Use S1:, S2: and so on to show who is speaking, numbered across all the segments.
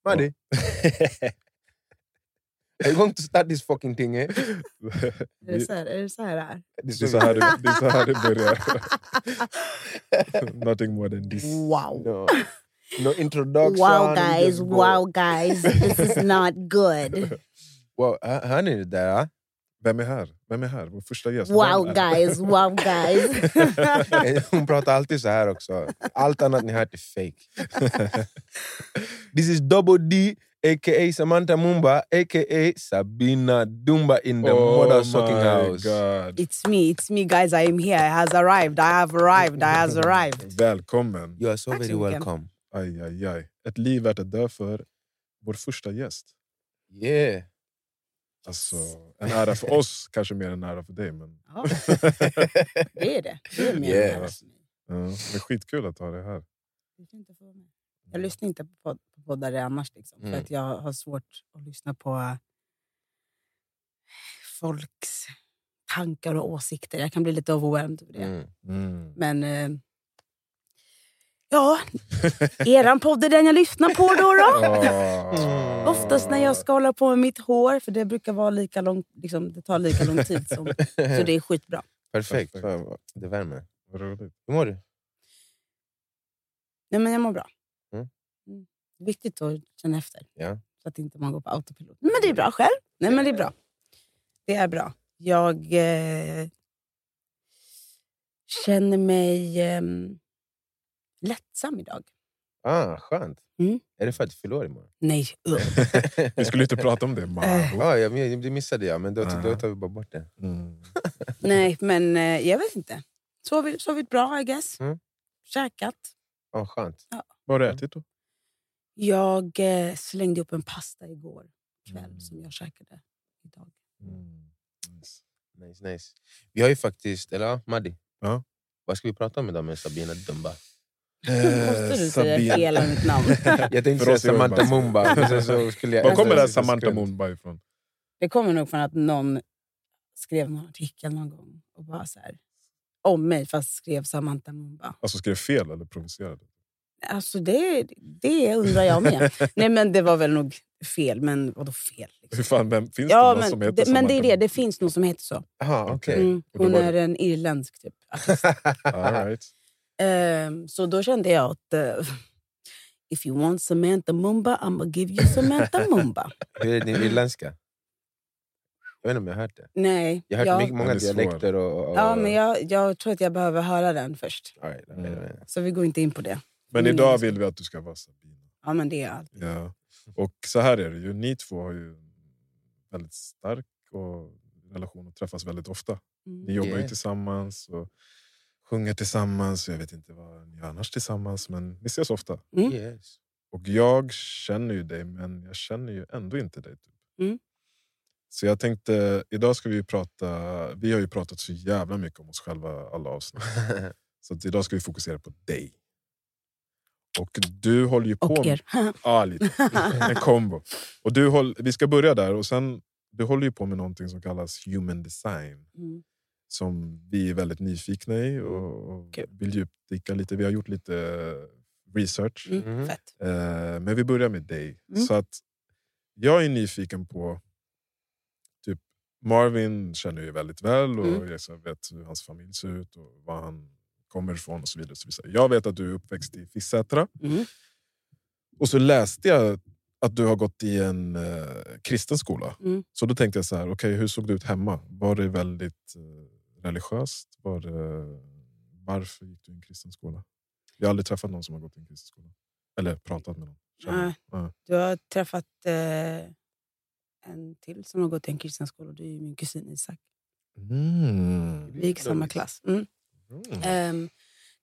S1: Money. Are you going to start this fucking thing, eh?
S2: Är det så här, är det så här det är?
S3: Det är så här det- det är så här det börjar. Nothing more than this.
S2: Wow.
S1: No, no introduction.
S2: Wow,
S1: you
S2: guys.
S1: just go.
S2: Wow, guys. This is not good.
S1: Wow, hör- hör ni det där? ah?
S3: Vem är här? Vem är här? Vår första gäst.
S2: Wow,
S3: Vem är-
S2: guys. Wow, guys.
S1: Hon pratar alltid så här också. Allt annat ni hört är fake. This is Double D, a.k.a. Samantha Mumba, a.k.a. Sabina Dumba in the
S3: Oh
S1: mother
S3: my
S1: sucking house.
S3: God.
S4: It's me, it's me, guys. I am here. I has arrived. I have arrived. I has arrived.
S3: Välkommen.
S1: You are so
S4: Tack så
S1: very
S4: mycket.
S1: welcome.
S3: Aj, aj, aj. Ett liv värt att dö för. Vår första gäst.
S1: Yeah.
S3: Alltså, en ära för oss, kanske mer än en ära för dig. Men,
S4: Ja, det är det. Det är mer
S1: Yeah.
S4: än det.
S3: ja, det är skitkul att ha dig här.
S4: Du kan inte få vara med. Jag lyssnar inte på podd- på poddar annars. Liksom, för
S1: Mm.
S4: att jag har svårt att lyssna på eh, folks tankar och åsikter. Jag kan bli lite overwhelmed över det.
S1: Mm.
S3: Mm.
S4: Men eh, ja, eran podd är den jag lyssnar på då. då.
S3: Ah.
S4: Oftast när jag ska hålla på med mitt hår, för det brukar vara lika lång, liksom, det tar lika lång tid. Som, så det är skitbra.
S1: Perfekt.
S3: Perfekt.
S1: Fan, Det värmer.
S3: Vad roligt.
S1: Hur mår du?
S4: Nej, men jag mår bra.
S1: Mm.
S4: Mm. Viktigt att känna efter.
S1: Ja.
S4: Så att inte man går på autopilot. Men det är bra själv. Nej, men det är bra. Det är bra. Jag eh, känner mig eh, lättsam idag.
S1: Ah, skönt.
S4: Mm.
S1: Är det för att du fyller år imorgon?
S4: Nej, upp.
S3: Vi skulle inte prata om det,
S4: Äh.
S3: Maro.
S1: ah, jag, men- det missade jag, men då,
S3: Ah.
S1: då tar vi bara bort det.
S3: Mm.
S4: Nej, men eh, jag vet inte. Sovit, sovit bra, I guess.
S1: Mm.
S4: Käkat.
S1: Ah, skönt.
S3: Vad har
S4: Mm.
S3: du ätit då?
S4: Jag eh, slängde upp en pasta igår kväll
S3: Mm.
S4: som jag käkade idag.
S3: Mm. Nice.
S1: Nice, nice. Vi har ju faktiskt... Eller ja, Maddi?
S3: Ja.
S1: Vad ska vi prata om idag med Sabina Dumba?
S4: Måste du säga
S3: Eh, Sabine.
S4: hela mitt namn?
S1: Jag tänkte
S3: För
S1: säga
S3: oss är det
S1: Samantha
S3: bara-
S1: Mumba. men sen så skulle jag
S3: Var kommer
S1: ändra
S3: det
S1: lite
S3: här
S4: Alltså,
S3: Samantha
S1: skrönt.
S3: Mumba ifrån?
S4: Det kommer nog från att någon skrev någon artikel någon gång och bara så här, om mig, fast skrev Samantha Mumba.
S3: Alltså skrev fel eller provocerade?
S4: Alltså det, det undrar jag med. Nej, men det var väl nog fel. Men vadå fel?
S3: Hur
S4: Liksom?
S3: fan, vem, finns det
S4: Ja,
S3: någon
S4: men,
S3: som heter
S4: det, men
S3: Samantha
S4: det är det. Det finns någon som heter så.
S1: Aha, okej.
S3: Okej.
S4: Mm.
S3: och då
S4: Hon
S3: var
S4: är en irländsk typ.
S3: Mumba? All right.
S4: Ehm, så då kände jag att eh, if you want Samantha Mumba, I'm gonna give you Samantha Mumba.
S1: Hur är din irländska? Jag vet inte om jag har hört det.
S4: Nej,
S1: Jag har hört
S4: jag-
S1: mycket, många
S3: Den är svår.
S1: dialekter. Och, och,
S4: ja, men jag, Mm. jag tror att jag behöver höra den först.
S1: All right, all right, all right.
S4: Så vi går inte in på det.
S3: Men
S4: Mm.
S3: idag vill vi att du ska vara Sabina.
S4: Ja, men det är allt.
S3: Ja. Och så här är det ju, ni två har ju en väldigt stark och relation och träffas väldigt ofta. Ni
S4: Mm.
S3: jobbar
S1: Yeah.
S3: ju tillsammans och sjunger tillsammans. och Jag vet inte vad ni gör annars tillsammans, men ni ses ofta.
S4: Mm.
S1: Yes.
S3: Och jag känner ju dig, men jag känner ju ändå inte dig. Typ.
S4: Mm.
S3: Så jag tänkte, idag ska vi ju prata... Vi har ju pratat så jävla mycket om oss själva alla avsnitt. Så att idag ska vi fokusera på dig. Och du håller ju på...
S4: Och er.
S3: Ja, lite. En kombo. Och du håll, vi ska börja där. och sen, Du håller ju på med någonting som kallas human design.
S4: Mm.
S3: Som vi är väldigt nyfikna i och, och
S4: Kul.
S3: vill djupdyka lite. Vi har gjort lite research.
S4: Mm.
S1: Mm.
S4: Fett.
S3: Eh, men vi börjar med dig.
S4: Mm.
S3: Så att jag är nyfiken på... Typ, Marvin känner ju väldigt väl och
S4: Mm.
S3: jag så vet hur hans familj ser ut och var han kommer ifrån. och så vidare. och Så vidare. Jag vet att du är uppväxt i Fisksätra.
S4: Mm.
S3: Och så läste jag att du har gått i en eh, kristen skola.
S4: Mm.
S3: Så då tänkte jag så här, okej, hur såg det ut hemma? Var det väldigt eh, religiöst? Var det, varför gick du i en kristen skola? Jag har aldrig träffat någon som har gått i en kristen skola. Eller pratat med någon. Känner.
S4: Nej.
S3: Ja.
S4: Du har träffat eh, en till som har gått i en kristen skola. och Det är ju min kusin Isak.
S3: Mm.
S4: Vi gick i samma klass. Mm.
S3: Mm.
S4: Ehm,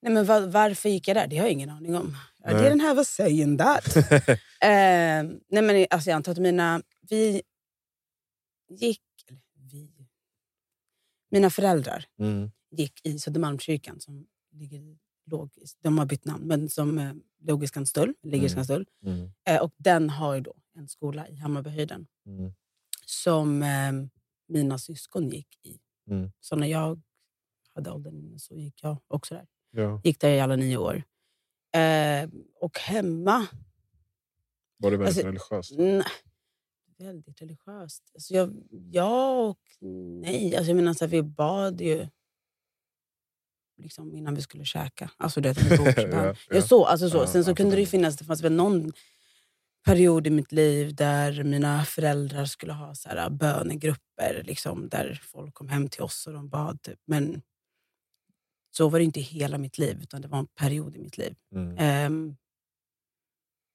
S4: nej, men va- varför gick jag där? Det har jag ingen aning om. I
S3: Nej.
S4: didn't have a say in that. Ehm, nej, men alltså, jag antar att mina... Vi gick... Eller vi... Mina föräldrar
S3: Mm.
S4: gick i Södermalmskyrkan som ligger i låg, de har bytt namn, men som eh, låg i Skanstull, ligger i
S3: Mm.
S4: Skanstull.
S3: Mm.
S4: Eh, och den har ju då en skola i Hammarbyhöjden
S3: Mm.
S4: som eh, mina syskon gick i.
S3: Mm.
S4: Så när jag hade åldern inne så gick jag också där.
S3: Ja.
S4: Gick där i alla nio år. Eh, och hemma...
S3: Var det väldigt
S4: Alltså,
S3: religiöst?
S4: Nej. Väldigt religiöst. Alltså jag, ja och nej. Alltså jag menar, så här, vi bad ju liksom innan vi skulle käka. Alltså det med bordsbön.
S3: Ja, ja.
S4: Jag så, alltså så.
S3: Ja,
S4: Sen så kunde det ju
S3: absolut.
S4: finnas, det fanns väl någon period i mitt liv där mina föräldrar skulle ha så här äh, bönegrupper liksom, där folk kom hem till oss och de bad. Typ. Men så var det inte hela mitt liv, utan det var en period i mitt liv.
S3: Mm.
S4: Ehm,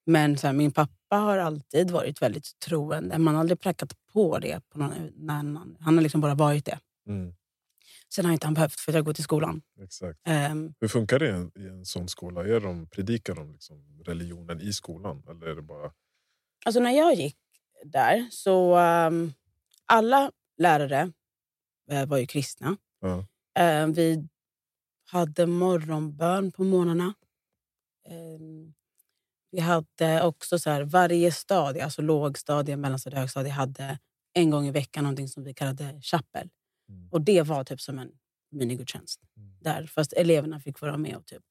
S4: men så här, min pappa har alltid varit väldigt troende. Man har aldrig prackat på det. På någon, när han, han har liksom bara varit det.
S3: Mm.
S4: Sen har inte han behövt för att jag går till skolan.
S3: Exakt.
S4: Ehm,
S3: Hur funkar det i en, i en sån skola? Är de, predikar de liksom religionen i skolan? Eller är det bara...
S4: alltså när jag gick där så... ehm, alla lärare eh, var ju kristna.
S3: Ja.
S4: Ehm, vi hade morgonbön på morgnarna. Ehm, vi hade också så här, varje stadie, alltså lågstadie, mellanstadie, högstadie, hade en gång i veckan någonting som vi kallade chapel.
S3: Mm.
S4: Och det var typ som en minigudstjänst
S3: Mm.
S4: där. Fast eleverna fick vara med och typ,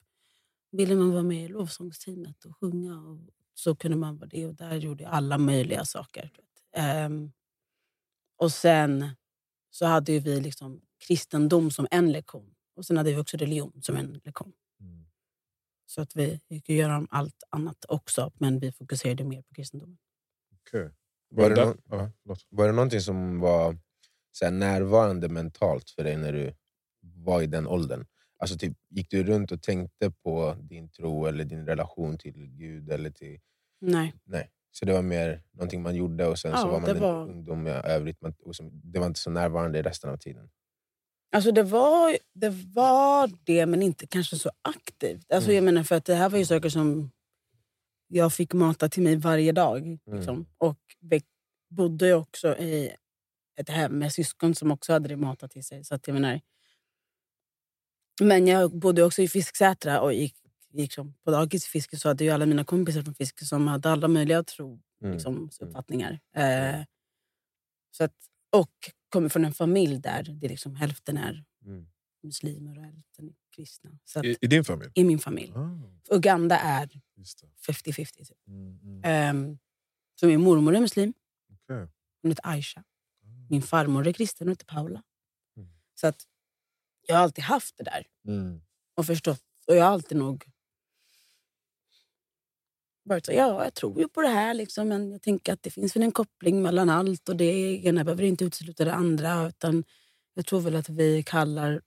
S4: ville man vara med i lovsångsteamet och sjunga och så kunde man vara det. Och där gjorde jag alla möjliga saker. du vet. Ehm, och sen så hade ju vi liksom kristendom som en lektion. Och sen hade vi också religion som en lektion.
S3: Mm.
S4: Så att vi gick ju göra om allt annat också, men vi fokuserade mer på kristendomen.
S3: Okej.
S1: Var det
S3: där-
S1: någon-
S3: ja, förlåt.
S1: Var det någonting som var så här, närvarande mentalt för dig när du var i den åldern? Alltså, typ, gick du runt och tänkte på din tro eller din relation till Gud? Eller till...
S4: Nej.
S1: Så det var mer någonting man gjorde och sen så
S4: Ja,
S1: var man
S4: det
S1: en
S4: var-
S1: ungdom i övrigt. Man, och som, det var inte så närvarande i resten av tiden.
S4: Alltså det var, det var det, men inte kanske så aktivt. Alltså
S1: Mm.
S4: jag menar för att det här var ju saker som jag fick mata till mig varje dag. Liksom.
S1: Mm.
S4: Och vi bodde ju också i ett hem med syskon som också hade det matat till sig. Så att jag menar. Men jag bodde också i Fisksätra och gick, gick som på dagis i Fiske så hade ju alla mina kompisar från Fiske som hade alla möjliga tro
S1: Mm.
S4: liksom, uppfattningar. Eh, så att, och kommer från en familj där det är liksom, hälften är
S1: Mm.
S4: muslimer och hälften är kristna. Så att,
S3: I,
S4: i,
S3: I din familj?
S4: min familj.
S3: Ah,
S4: Uganda är
S3: just det.
S4: 50-50. Typ.
S3: Mm, mm.
S4: Ehm, så min mormor är muslim.
S3: Okej.
S4: Hon heter Aisha.
S3: Mm.
S4: Min farmor är kristen och heter Paula.
S1: Mm.
S4: Så att, jag har alltid haft det där
S3: Mm.
S4: och förstått. Och jag har alltid nog varit så, ja, jag tror ju på det här liksom, men jag tänker att det finns väl en koppling mellan allt och det ena behöver inte utesluta det andra. Utan jag tror väl att vi kallar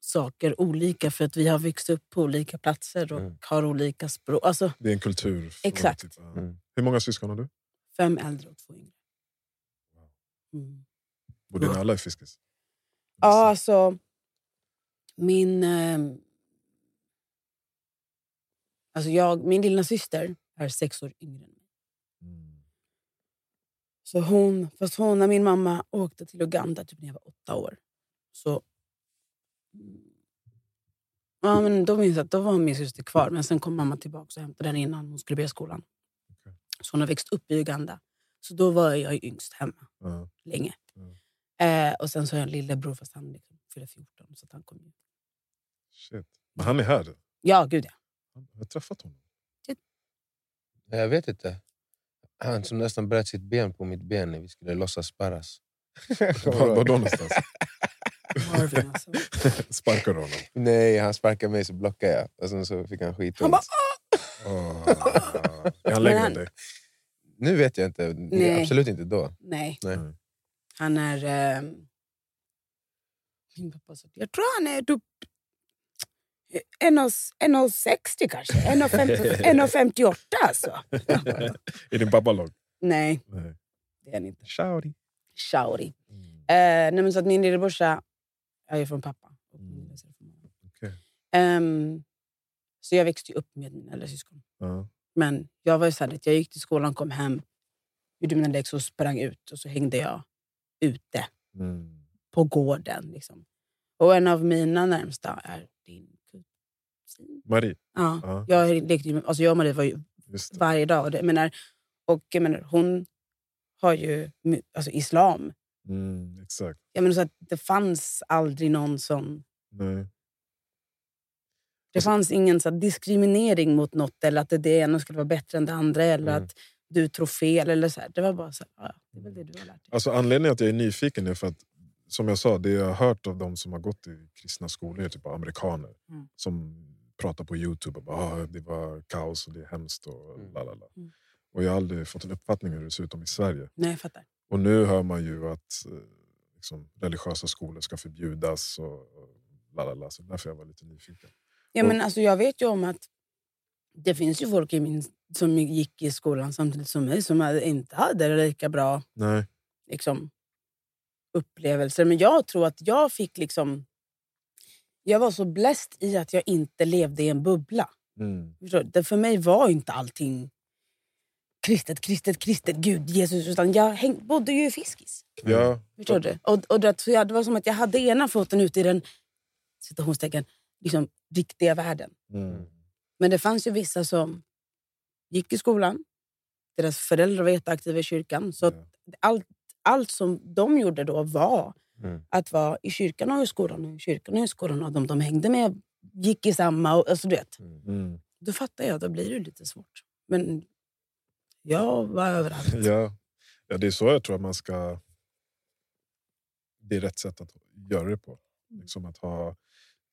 S4: saker olika för att vi har växt upp på olika platser och
S1: Mm.
S4: har olika språk. Alltså
S3: Det är en kultur.
S4: Exakt.
S3: Typ. Ja.
S1: Mm.
S3: Hur många syskon har du?
S4: fem äldre och två yngre. Mm.
S3: Bodde ni alla i Fiskis?
S4: Ja, alltså... Min... Eh, alltså jag, min lilla syster är sex år yngre än mig.
S3: Mm.
S4: Så hon, fast hon, när min mamma åkte till Uganda typ när jag var åtta år, så... mm, Ja, men då minns jag att då var min syster kvar, men sen kom mamma tillbaka och hämtade henne innan hon skulle börja skolan.
S3: Okej.
S4: Så hon har växt upp i Uganda. Så då var jag ju yngst hemma.
S3: Ja.
S4: länge.
S3: Mm.
S4: Eh, och sen så har jag en lillebror fast han liksom fyller 14. Så att han kom ju.
S3: Shit. Men han är här.
S4: Ja, gud ja.
S3: Jag har träffat honom.
S1: Jag vet inte. Han som nästan bröt sitt ben på mitt ben när vi skulle låtsas sparras.
S3: Var, var då någonstans?
S4: Marvin alltså.
S3: Sparkar du honom?
S1: Nej, han sparkade mig så blockade jag. Och sen så fick han skit.
S4: Han bara, "Ah!"
S3: Åh. Är han längre
S4: Men
S3: än
S4: han-
S3: dig?
S1: Nu vet jag inte.
S4: Nej.
S1: Absolut inte då.
S4: Nej.
S1: Nej.
S4: Han är... ehm, min pappa sa, jag tror han är typ eh, 1,60 kanske. 1,50 1,58 alltså.
S3: Är din pappa lång?
S4: Nej,
S3: Nej.
S4: det är han inte.
S1: Shawty.
S4: Shauri.
S3: Mm.
S4: Eh, nej, men så att min lillebrorsa är ju från pappa. Och min
S3: Mm.
S4: lillebrorsa är från mamma.
S3: Okej.
S4: Ehm, så jag växte ju upp med mina äldre syskon.
S3: Ja.
S4: Men jag var ju så här, att jag gick till skolan, kom hem, gjorde mina läxor och sprang ut. Och så hängde jag ute
S3: Mm.
S4: på gården. Liksom. Och en av mina närmsta är din kusin.
S3: Marie.
S4: Ja.
S3: Ja,
S4: Jag, lekte, ju med- alltså jag och Marie var ju
S3: just det.
S4: varje dag. Och, det, jag menar, och jag menar, hon har ju mu- alltså, islam.
S3: Mm, exakt.
S4: Jag menar, så att det fanns aldrig någon som...
S3: Nej.
S4: Det fanns ingen så här, diskriminering mot något eller att det, det ena skulle vara bättre än det andra eller
S1: Mm.
S4: att du tror fel. Eller så här. Det var bara så här, ja, det är väl det du har lärt dig.
S3: Alltså, anledningen att jag är nyfiken är för att som jag sa, det jag har hört av de som har gått i kristna skolor är typ av amerikaner
S4: Mm.
S3: som pratar på Youtube och bara, ah, det var kaos och det är hemskt och
S1: Mm.
S3: la la la.
S4: Mm.
S3: Och jag har aldrig fått en uppfattning hur det ser ut om i Sverige.
S4: Nej, jag fattar.
S3: Och nu hör man ju att eh, liksom, religiösa skolor ska förbjudas och och la la la. Så därför jag var lite nyfiken.
S4: Ja,
S3: Och-
S4: men alltså, jag vet ju om att det finns ju folk i min, som gick i skolan samtidigt som mig som hade- inte hade lika bra
S3: Nej.
S4: liksom, upplevelser. Men jag tror att jag fick liksom... Jag var så bläst i att jag inte levde i en bubbla.
S3: Mm.
S4: Förstår du? Det för mig var inte allting kristet, kristet, kristet, Gud, Jesus. Utan jag häng, bodde ju i Fiskis.
S3: Ja,
S4: Förstår du? Och, och det, så jag, det var som att jag hade ena foten ute i den citationstecken, liksom, riktiga världen.
S3: mm.
S4: Men det fanns ju vissa som gick i skolan. Deras föräldrar var jätteaktiva i kyrkan. Så att
S3: Mm.
S4: allt, allt som de gjorde då var
S1: Mm.
S4: att vara i kyrkan och i skolan och i kyrkan och i skolan. Och de de hängde med gick i samma. Och, alltså, du vet,
S3: Mm.
S4: då fattar jag att det blir ju lite svårt. Men jag var överallt.
S3: Ja. ja, det är så jag tror att man ska... Det är rätt sätt att göra det på.
S4: Mm.
S3: Liksom att ha,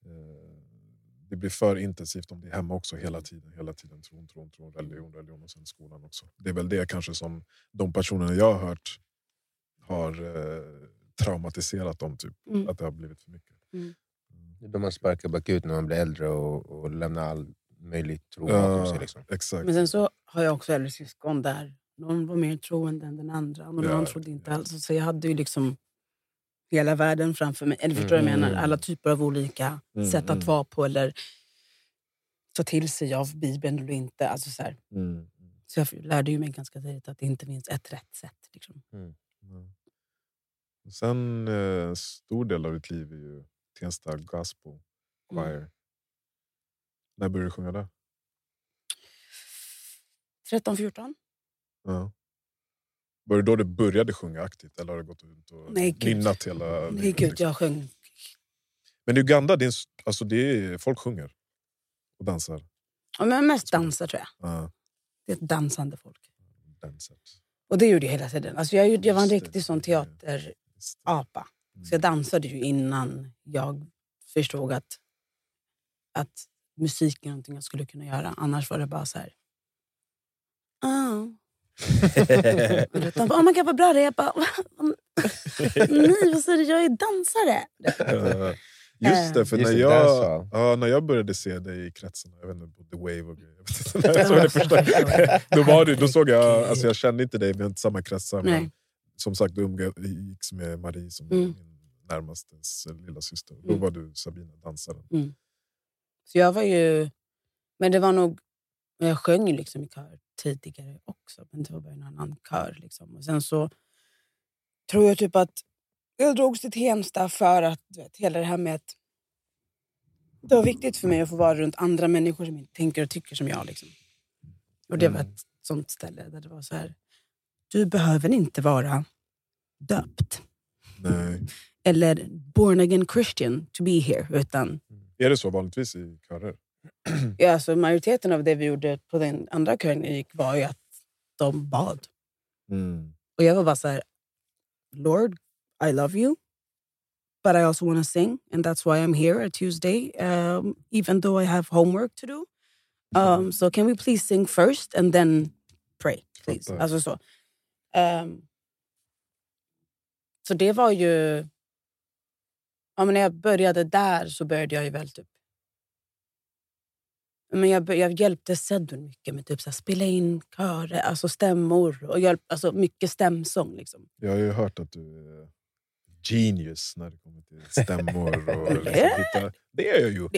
S3: eh, det blir för intensivt om det är hemma också hela tiden. Hela tiden tron, tron, tron, religion, religion och sen skolan också. Det är väl det kanske som de personerna jag har hört har eh, traumatiserat dem. Typ.
S4: Mm.
S3: Att det har blivit för mycket.
S1: Det är då man sparkar bakut när man blir äldre och, och lämnar all möjlig tro bakom sig.
S3: Ja,
S1: Liksom.
S3: exakt.
S4: Men sen så har jag också äldre syskon där. Någon var mer troende än den andra. Men
S3: Ja,
S4: någon trodde inte
S3: ja.
S4: alls. Så jag hade ju liksom hela världen framför mig. Eller förstår du vad jag menar?
S3: Mm.
S4: Alla typer av olika
S3: Mm,
S4: sätt att
S3: mm.
S4: vara på. Eller ta till sig av Bibeln eller inte. Alltså så, här.
S3: Mm.
S4: så jag lärde ju mig ganska tidigt att det inte finns ett rätt sätt. Liksom.
S3: Ja. Och Sen eh, stor del av ditt liv är ju Tensta Gospel
S4: Mm.
S3: Choir. När började du sjunga där?
S4: 13, 14?
S3: Ja. Var det då du började sjunga aktivt eller har du gått ut och
S4: Nej, gud.
S3: nynnat hela
S4: Nej,
S3: livet,
S4: gud,
S3: liksom?
S4: jag sjöng.
S3: Men i Uganda, det är, en s- alltså det är, folk sjunger och dansar.
S4: Ja, men mest dansar tror jag.
S3: Ja,
S4: Det är ett dansande folk.
S3: dansar.
S4: Och det gjorde jag hela tiden. Alltså jag, gjorde- jag var en
S3: Just det.
S4: riktig sån teaterapa.
S3: Just det. Mm.
S4: Så jag dansade ju innan jag förstod att, att musik är någonting jag skulle kunna göra. Annars var det bara så här... Oh. Utan, oh my god, vad bra det är. Jag bara, nej, vad säger du? Jag är dansare.
S3: Ja. Eh, Just det, för
S1: Just
S3: när
S1: det,
S3: jag,
S1: där sa han.
S3: ja, när jag började se dig i kretsen, jag vet inte, på The Wave och grejer. jag vet inte, när jag såg det första, då, var du, då såg jag, alltså jag kände inte dig, vi har inte samma kretsar. Men
S4: Nej.
S3: som sagt, du umgicks med Marie som är
S4: Mm.
S3: min närmaste s- lilla syster. Då
S4: Mm.
S3: var du Sabina, dansaren.
S4: Så jag var ju... Men det var nog... Men jag sjöng ju liksom i kör tidigare också, men det var bara en annan kör. Liksom. Och sen så tror jag typ att jag drogs till Tensta för att du vet, hela det här med att det var viktigt för mig att få vara runt andra människor som inte tänker och tycker som jag. Liksom. Och det var
S3: Mm.
S4: ett sånt ställe där det var så här, du behöver inte vara döpt Mm.
S3: Nej.
S4: eller born again Christian to be here, utan
S3: Är det så vanligtvis i körer?
S4: Ja, alltså majoriteten av det vi gjorde på den andra kören jag gick var ju att de bad. Och jag var bara så här, Lord, I love you. But I also want to sing and that's why I'm here at Tuesday. Um, even though I have homework to do. Um, so can we please sing first and then pray? Please.
S3: Fattar.
S4: Alltså så. Ehm, så det var ju... Ja, men när jag började där så började jag ju väl typ men jag, bör- jag hjälpte Sedun mycket med typ så här, spela in körer, alltså stämmor. Och hjälp, alltså mycket stämsång. Liksom.
S3: Jag har ju hört att du är genius när det kommer till stämmor. Och liksom hitta, det är jag ju.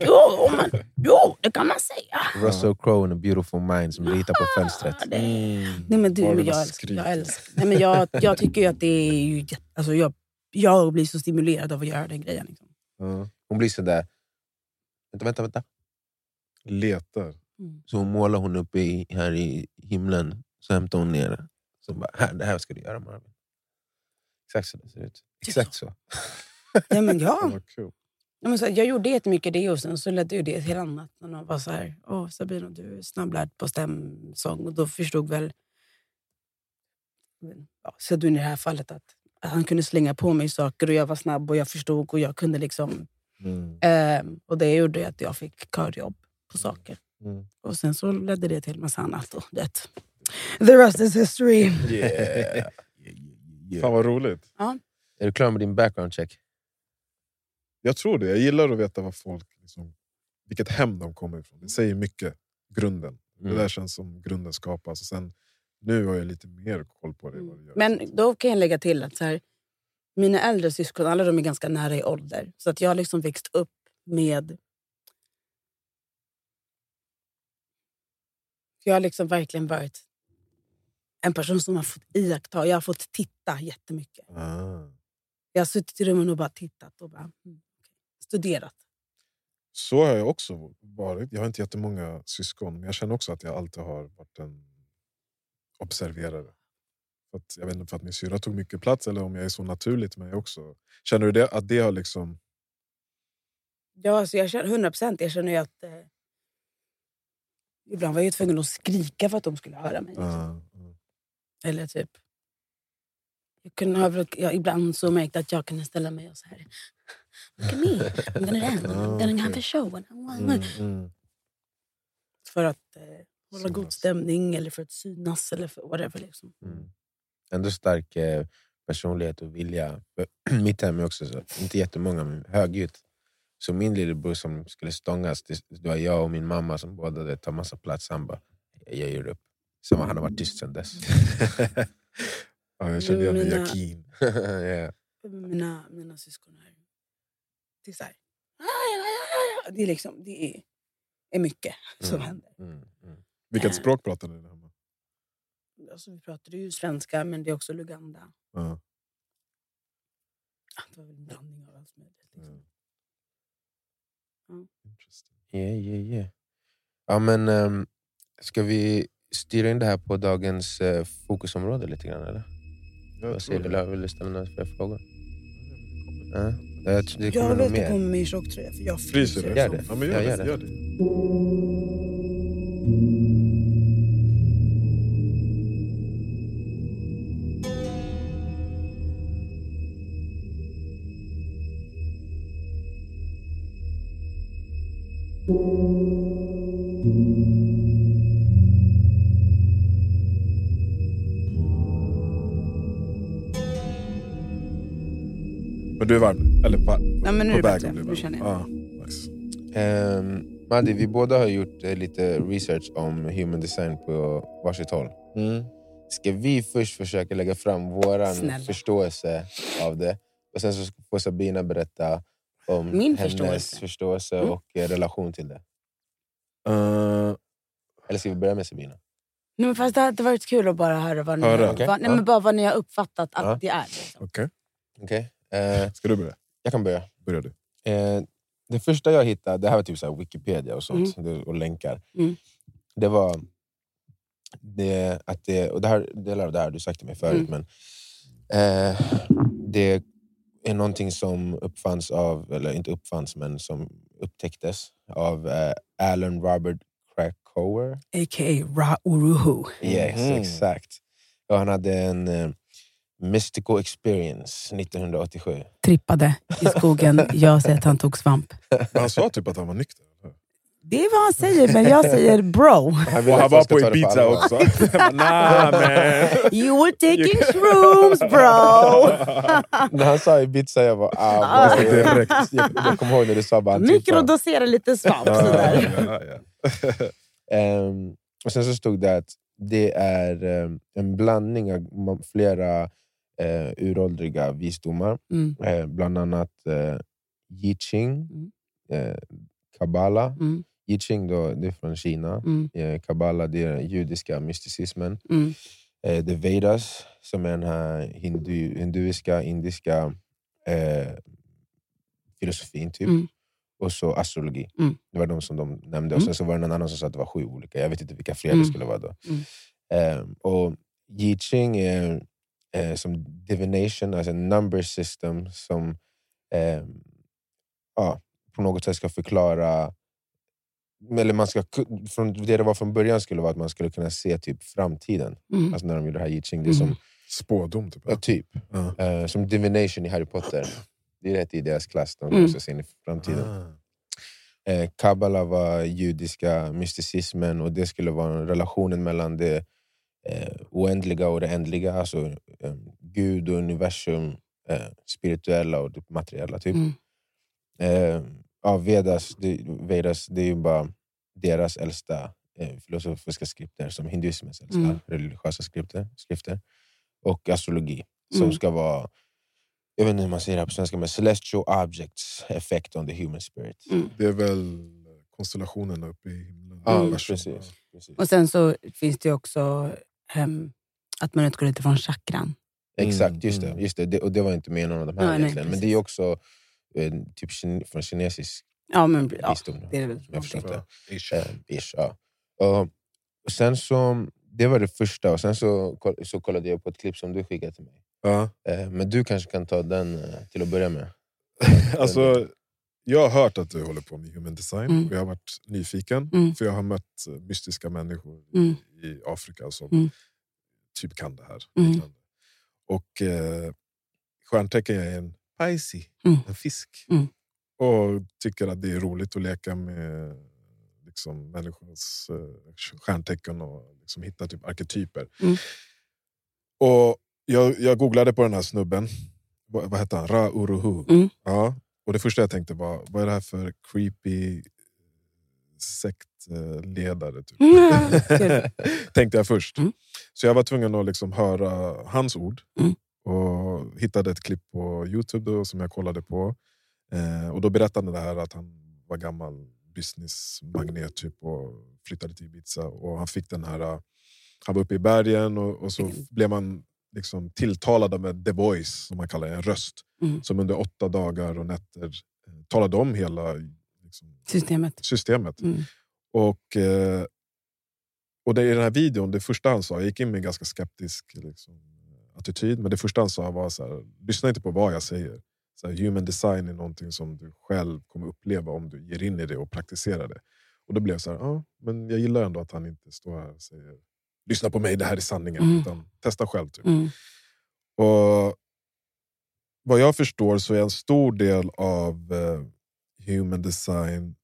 S4: Jo, om man, jo, det kan man säga.
S1: Russell Crowe and a beautiful mind som du hittar på fönstret.
S4: Ja, det- Nej, men du,
S3: Bara
S4: men
S3: det var
S4: jag, älskar,
S3: skrik.
S4: jag, älskar. Nej, men jag, jag tycker ju att det är... Ju, jätte- alltså jag, jag blir så stimulerad av att göra den grejen. Liksom.
S3: Ja.
S1: Hon blir sådär... Vänta, vänta, vänta.
S3: Letar.
S1: Så hon målar hon uppe i, här i himlen, så hämtar hon ner det. Så hon bara, här, det här ska du göra Marvin. Exakt så det ser ut. Exakt så.
S4: Nej, men
S3: Fan,
S4: ja,
S3: vad kul.
S4: Ja, men så, jag gjorde jättemycket det och sen så ledde ju det till annat. När någon var så här, Åh, Sabina du är snabblärd på stämsång. Och då förstod väl men, ja, Sedun i det här fallet att, att han kunde slänga på mig saker och jag var snabb och jag förstod och jag kunde liksom.
S3: Mm.
S4: ehm, och det gjorde ju att jag fick körjobb på saker.
S3: Mm.
S4: Och sen så ledde det till massa annat. Och det. The rest is history.
S1: Yeah.
S3: Fan vad roligt.
S1: Är du klar med din background check?
S3: Jag tror det. Jag gillar att veta vad folk, liksom, vilket hem de kommer ifrån. Det säger mycket. Grunden.
S1: Mm.
S3: Det där känns som grunden skapas. Och sen, nu har jag lite mer koll på det. Vad det gör.
S4: Mm. Men då kan jag lägga till att så här, mina äldre syskon, alla de är ganska nära i ålder. Så att jag har liksom växt upp med... Jag har liksom verkligen varit en person som har fått iaktta. Jag har fått titta jättemycket.
S3: Ah.
S4: Jag har suttit i rummen och bara tittat och bara, mm, okej. studerat.
S3: Så har jag också varit. Jag har inte jättemånga syskon, men jag känner också att jag alltid har varit en observerare. För Att, jag vet inte för att min syra tog mycket plats eller om jag är så naturligt med mig också. Känner du det, att det har liksom...
S4: Ja, så jag känner, 100 procent. Jag känner ju att... Eh, ibland var jag ju tvungen att skrika för att de skulle höra mig.
S3: Ah, ah.
S4: Eller typ... Jag kunde ha, bruk- jag, ibland så märkte att jag kunde ställa mig och så här... Look at me, I'm gonna dance, I'm gonna have a show. and I wanna-"
S3: Mm, mm.
S4: För att eh, hålla god
S3: Synas.
S4: stämning eller för att synas eller för whatever. Liksom.
S1: Mm. Ändå stark eh, personlighet och vilja. Mitt hem är också så, inte jättemånga, men högljutt. Så min lillebror som skulle stångas, det det var jag och min mamma som båda hade tagit massa plats. Han bara, jag ger upp. Sen var han har varit tyst sen dess.
S3: Ja, jag kände igen mig i
S4: Mina-
S3: Jakin.
S1: yeah.
S4: Mina, mina syskon här... Det är så här... Det är, liksom, det är, är mycket som
S1: Mm.
S4: händer.
S1: Mm, mm.
S4: eh.
S3: Vilket språk pratade ni hemma?
S4: Alltså, vi pratade ju svenska, men det är också Luganda.
S3: Ah,
S4: Ah, Det var väl en blandning av allt möjligt. Liksom.
S3: mm.
S4: Ja.
S3: Interesting.
S1: Yeah, yeah, yeah. Ja, men, ehm, ska vi styra in det här på dagens eh, fokusområde lite grann? Eller?
S3: Jag
S1: Vad säger du?
S4: Mm.
S3: tror
S1: Lär- Vill du ställa några fler frågor?
S3: det.
S1: Ja. Jag tror det
S4: Jag
S1: kommer
S4: vill
S1: nog
S4: inte komma
S1: mer.
S4: med i tjocktröja för jag
S3: Fryser du?
S4: fryser.
S1: Gör det.
S3: Ja, men gör,
S1: Jag
S3: det,
S1: gör det.
S3: gör det. Men du är varm nu? Eller varm?
S4: Nej, men nu
S3: på
S4: är det
S3: väg att
S4: bättre.
S3: bli
S4: Nu
S3: varm.
S4: känner jag.
S3: Ah, nice.
S1: Ehm, Maddi, vi båda har gjort eh, lite research om human design på varsitt håll. Ska vi först försöka lägga fram vår
S4: Snälla.
S1: förståelse av det? Och Sen så får Sabina berätta om
S4: Min
S1: hennes
S4: förståelse.
S1: förståelse,
S4: Mm.
S1: och eh, relation till det.
S3: Eh,
S1: Eller ska vi börja med Sabina?
S4: Nej, men fast det hade varit kul att bara höra vad ni,
S3: Höra,
S4: har,
S1: okej.
S4: vad, nej,
S1: Ja.
S4: men bara vad ni har uppfattat att
S1: Ja.
S4: det är. Liksom.
S3: Okej,
S1: Okej? Eh,
S3: ska du börja?
S1: jag kan börja.
S3: Börja du.
S1: Eh, det första jag hittade, det här var typ så här Wikipedia och sånt det- och länkar.
S4: Mm.
S1: Det var det, att det, och det här, delar av det här har du sagt till mig
S3: Mm.
S1: förut, men eh, det är någonting som uppfanns av, eller inte uppfanns, men som upptäcktes av eh, Alan Robert Krakower.
S4: A.k.a. Ra Uruhu.
S1: Yes,
S3: Mhm.
S1: exakt. Och han hade en eh, mystical experience 1987.
S4: Trippade i skogen. Jag säger att han tog svamp.
S3: Men han sa typ att han var nykter. eller?
S4: Det är vad han säger, men jag säger bro.
S1: Han,
S3: Och
S1: ville
S3: han
S1: att jag
S3: var
S1: ska
S3: på
S1: ta det
S3: Ibiza
S1: allvar.
S3: också. nah, man.
S4: You were taking shrooms bro!
S1: När han sa Ibiza, jag bara... Ah,
S4: Ah.
S1: måste direkt. Jag, jag kommer ihåg när du sa bara... typ,
S4: Mikrodosera lite svamp sådär.
S3: ja, ja.
S1: ehm, och sen så stod det att det är ehm, en blandning av ma- flera eh, uråldriga visdomar.
S4: Mm,
S1: Eh, bland annat eh, I Ching,
S4: Mm.
S1: eh, Kabbala.
S4: mm,
S1: I Ching då, det är från Kina.
S4: mm,
S1: Eh, Kabbala det är den judiska mysticismen.
S4: mm.
S1: eh, The Vedas, som är den här hindu, hinduiska, indiska eh, filosofin. typ.
S4: Mm.
S1: Och så astrologi.
S4: Mm.
S1: Det var de som de nämnde. Och
S4: Mm.
S1: sen så var det någon annan som sa att det var sju olika. Jag vet inte vilka fler
S4: Mm.
S1: det skulle vara då.
S4: Mm.
S1: Eh, och I Ching är eh, som divination, alltså en number system som eh, Ehm, ja, på något sätt ska förklara... Eller man ska, ku- från det det var från början skulle vara att man skulle kunna se typ framtiden.
S4: Mm.
S1: Alltså när de gjorde det här I Ching. Det är som,
S4: Mm.
S3: Spådom, typ.
S1: ja, typ,
S3: Ja.
S1: eh, som divination i Harry Potter. Det är rätt i deras klass, de
S4: Mm.
S1: också ser in i framtiden.
S3: Ah.
S1: Eh, Kabbala var judiska mysticismen och det skulle vara relationen mellan det eh, oändliga och det ändliga. Alltså eh, Gud och universum, eh, spirituella och det materiella. typ.
S4: Mm.
S1: Eh, ja, Vedas, det, Vedas, det är ju bara deras äldsta eh, filosofiska skrifter, som hinduismens äldsta
S4: Mm.
S1: religiösa skrifter, skrifter. Och astrologi, som
S4: Mm.
S1: ska vara, jag vet inte hur man säger det här på svenska, men celestial objects effect on the human spirit.
S4: Mm.
S3: Det är väl konstellationerna uppe i himlen.
S1: Ja,
S4: Mm.
S1: precis. precis.
S4: Och sen så finns det ju också ehm, att man utgår lite från chakran.
S1: Exakt, just det.
S3: mm.
S1: Just det. det. Och det var inte med i någon av de här
S4: Ja, nej,
S1: egentligen. men det
S4: precis.
S1: är också eh, typ kine, från kinesisk
S4: Ja, men, ja.
S1: visdom. då,
S4: det är det väl.
S1: om Jag förstår
S3: Ja.
S1: det. Eh, ish, ja. och, och sen så, det var det första. Och sen så, koll- så kollade jag på ett klipp som du skickade till mig.
S3: Ja.
S1: Eh, men du kanske kan ta den eh, till att börja med.
S3: Alltså, jag har hört att du håller på med human design
S4: Mm.
S3: och jag har varit nyfiken.
S4: Mm.
S3: För jag har mött eh, mystiska människor
S4: Mm.
S3: i Afrika som
S4: Mm.
S3: typ kan det här.
S4: Mm.
S3: liknande. Och eh, stjärntecken jag är en Pisces,
S4: Mm.
S3: en fisk.
S4: Mm.
S3: Och tycker att det är roligt att leka med liksom, människors eh, stjärntecken och liksom, hitta typ arketyper.
S4: Mm.
S3: Och jag, jag googlade på den här snubben. Vad, vad hette han? Ra Uruhu.
S4: Mm.
S3: Ja. Och det första jag tänkte var, vad är det här för creepy eh, sektledare? Typ?
S4: Kul.
S3: Tänkte jag först.
S4: Mm.
S3: Så jag var tvungen att liksom höra hans ord.
S4: Mm.
S3: Och hittade ett klipp på Youtube då, som jag kollade på. Eh, och Då berättade han det här att han var gammal businessmagnet typ, och flyttade till Ibiza. Och han, fick den här, eh, han var uppe i bergen och, och så
S4: Mm.
S3: blev man liksom tilltalad av en the voice, som man kallar det, en röst.
S4: Mm.
S3: Som under åtta dagar och nätter eh, talade om hela liksom,
S4: Systemet.
S3: systemet.
S4: Mm.
S3: Och, eh, och det, i den här videon, det första han sa, jag gick in med en ganska skeptisk liksom, attityd, men det första han sa var så här, lyssna inte på vad jag säger. Så här, human design är någonting som du själv kommer uppleva om du ger in i det och praktiserar det. Och då blev jag så här, ja, men jag gillar ändå att han inte står här och säger, lyssna på mig, det här är sanningen.
S4: Mm.
S3: Utan testa själv. Typ.
S4: Mm.
S3: Och vad jag förstår så är en stor del av eh, human design,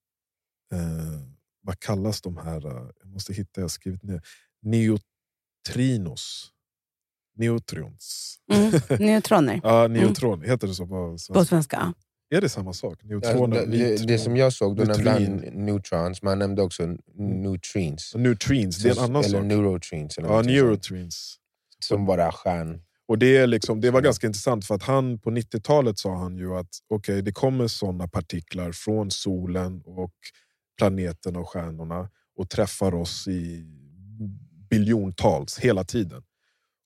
S3: eh, vad kallas de här, eh, jag måste hitta, jag har skrivit ner, neutrinos. Neutrons.
S4: Mm. Neutroner.
S3: Ja, neutron, heter det så på
S4: På
S3: svenska?
S4: svenska. ja.
S3: Är det samma sak?
S1: Alltså,
S3: Neutroner,
S1: det, det, det som jag såg, då nämnde han
S3: Neutrin.
S1: neutrons, man nämnde också n- neutrins.
S3: Neutrins, det är en annan
S1: eller liksom.
S3: sak.
S1: neurotrins. Eller
S3: Ja,
S1: någonting sånt,
S3: neurotrins.
S1: som bara stjärn.
S3: Och det, är liksom, det var ganska intressant för att han på 90-talet sa han ju att okej det kommer sådana partiklar från solen och planeterna och stjärnorna och träffar oss i biljontals hela tiden.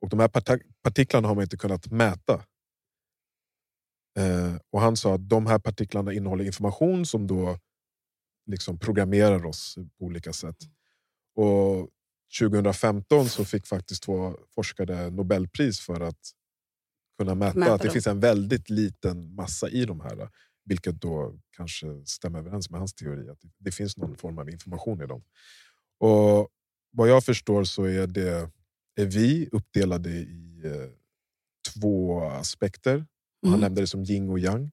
S3: Och de här parta- partiklarna har man inte kunnat mäta. Eh, och han sa att de här partiklarna innehåller information som då liksom programmerar oss på olika sätt.
S4: Mm.
S3: Och 2015 så fick faktiskt två forskare Nobelpris för att kunna mäta,
S4: Mäta
S3: att det
S4: dem.
S3: finns en väldigt liten massa i de här. Vilket då kanske stämmer överens med hans teori, att det finns någon form av information i dem. Och vad jag förstår så är, det, är vi uppdelade i eh, två aspekter. Och Han
S4: Mm.
S3: nämnde det som yin och yang.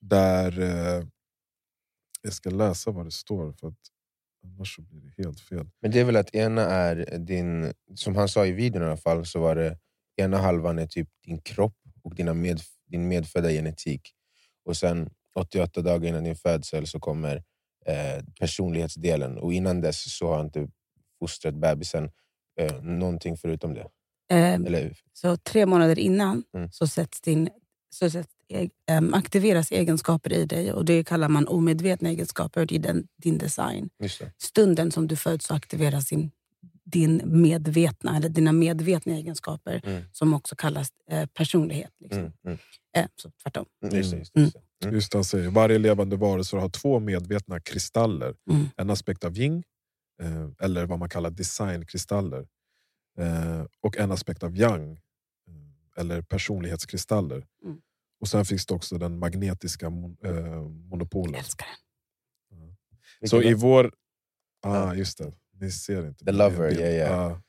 S3: Där eh, Jag ska läsa vad det står, för att annars så blir det helt fel.
S1: Men det är väl att ena är din, som han sa i videon i alla fall, så var det ena halvan är typ din kropp och dina med, din medfödda genetik. Och sen 88 dagar innan din födsel så kommer eh, personlighetsdelen. Och innan dess så har inte fostrat bebisen eh, någonting förutom det.
S4: Eh,
S1: Eller,
S4: Så tre månader innan
S1: Mm.
S4: så, sätts din, så sätts, e- em, aktiveras egenskaper i dig och det kallar man omedvetna egenskaper i den, din design.
S1: just det.
S4: Stunden som du föds så aktiveras din, din medvetna, eller dina medvetna egenskaper
S1: Mm.
S4: som också kallas eh, personlighet. Liksom.
S1: Mm, mm,
S4: Eh, så tvärtom.
S1: mm, just det, just det, just det. Mm.
S3: Just det han säger, varje levande varelse har två medvetna kristaller.
S4: Mm.
S3: En aspekt av yin, eh, eller vad man kallar designkristaller. Eh, och en aspekt av yang, eh, eller personlighetskristaller.
S4: Mm.
S3: Och sen finns det också den magnetiska mon eh, monopolen.
S4: Älskar den.
S3: Så i
S1: Vilken-
S3: vår... Ah, just det. Ni ser inte.
S1: The
S3: men
S1: Lover,
S3: det-
S1: ja, ja.
S3: Ah,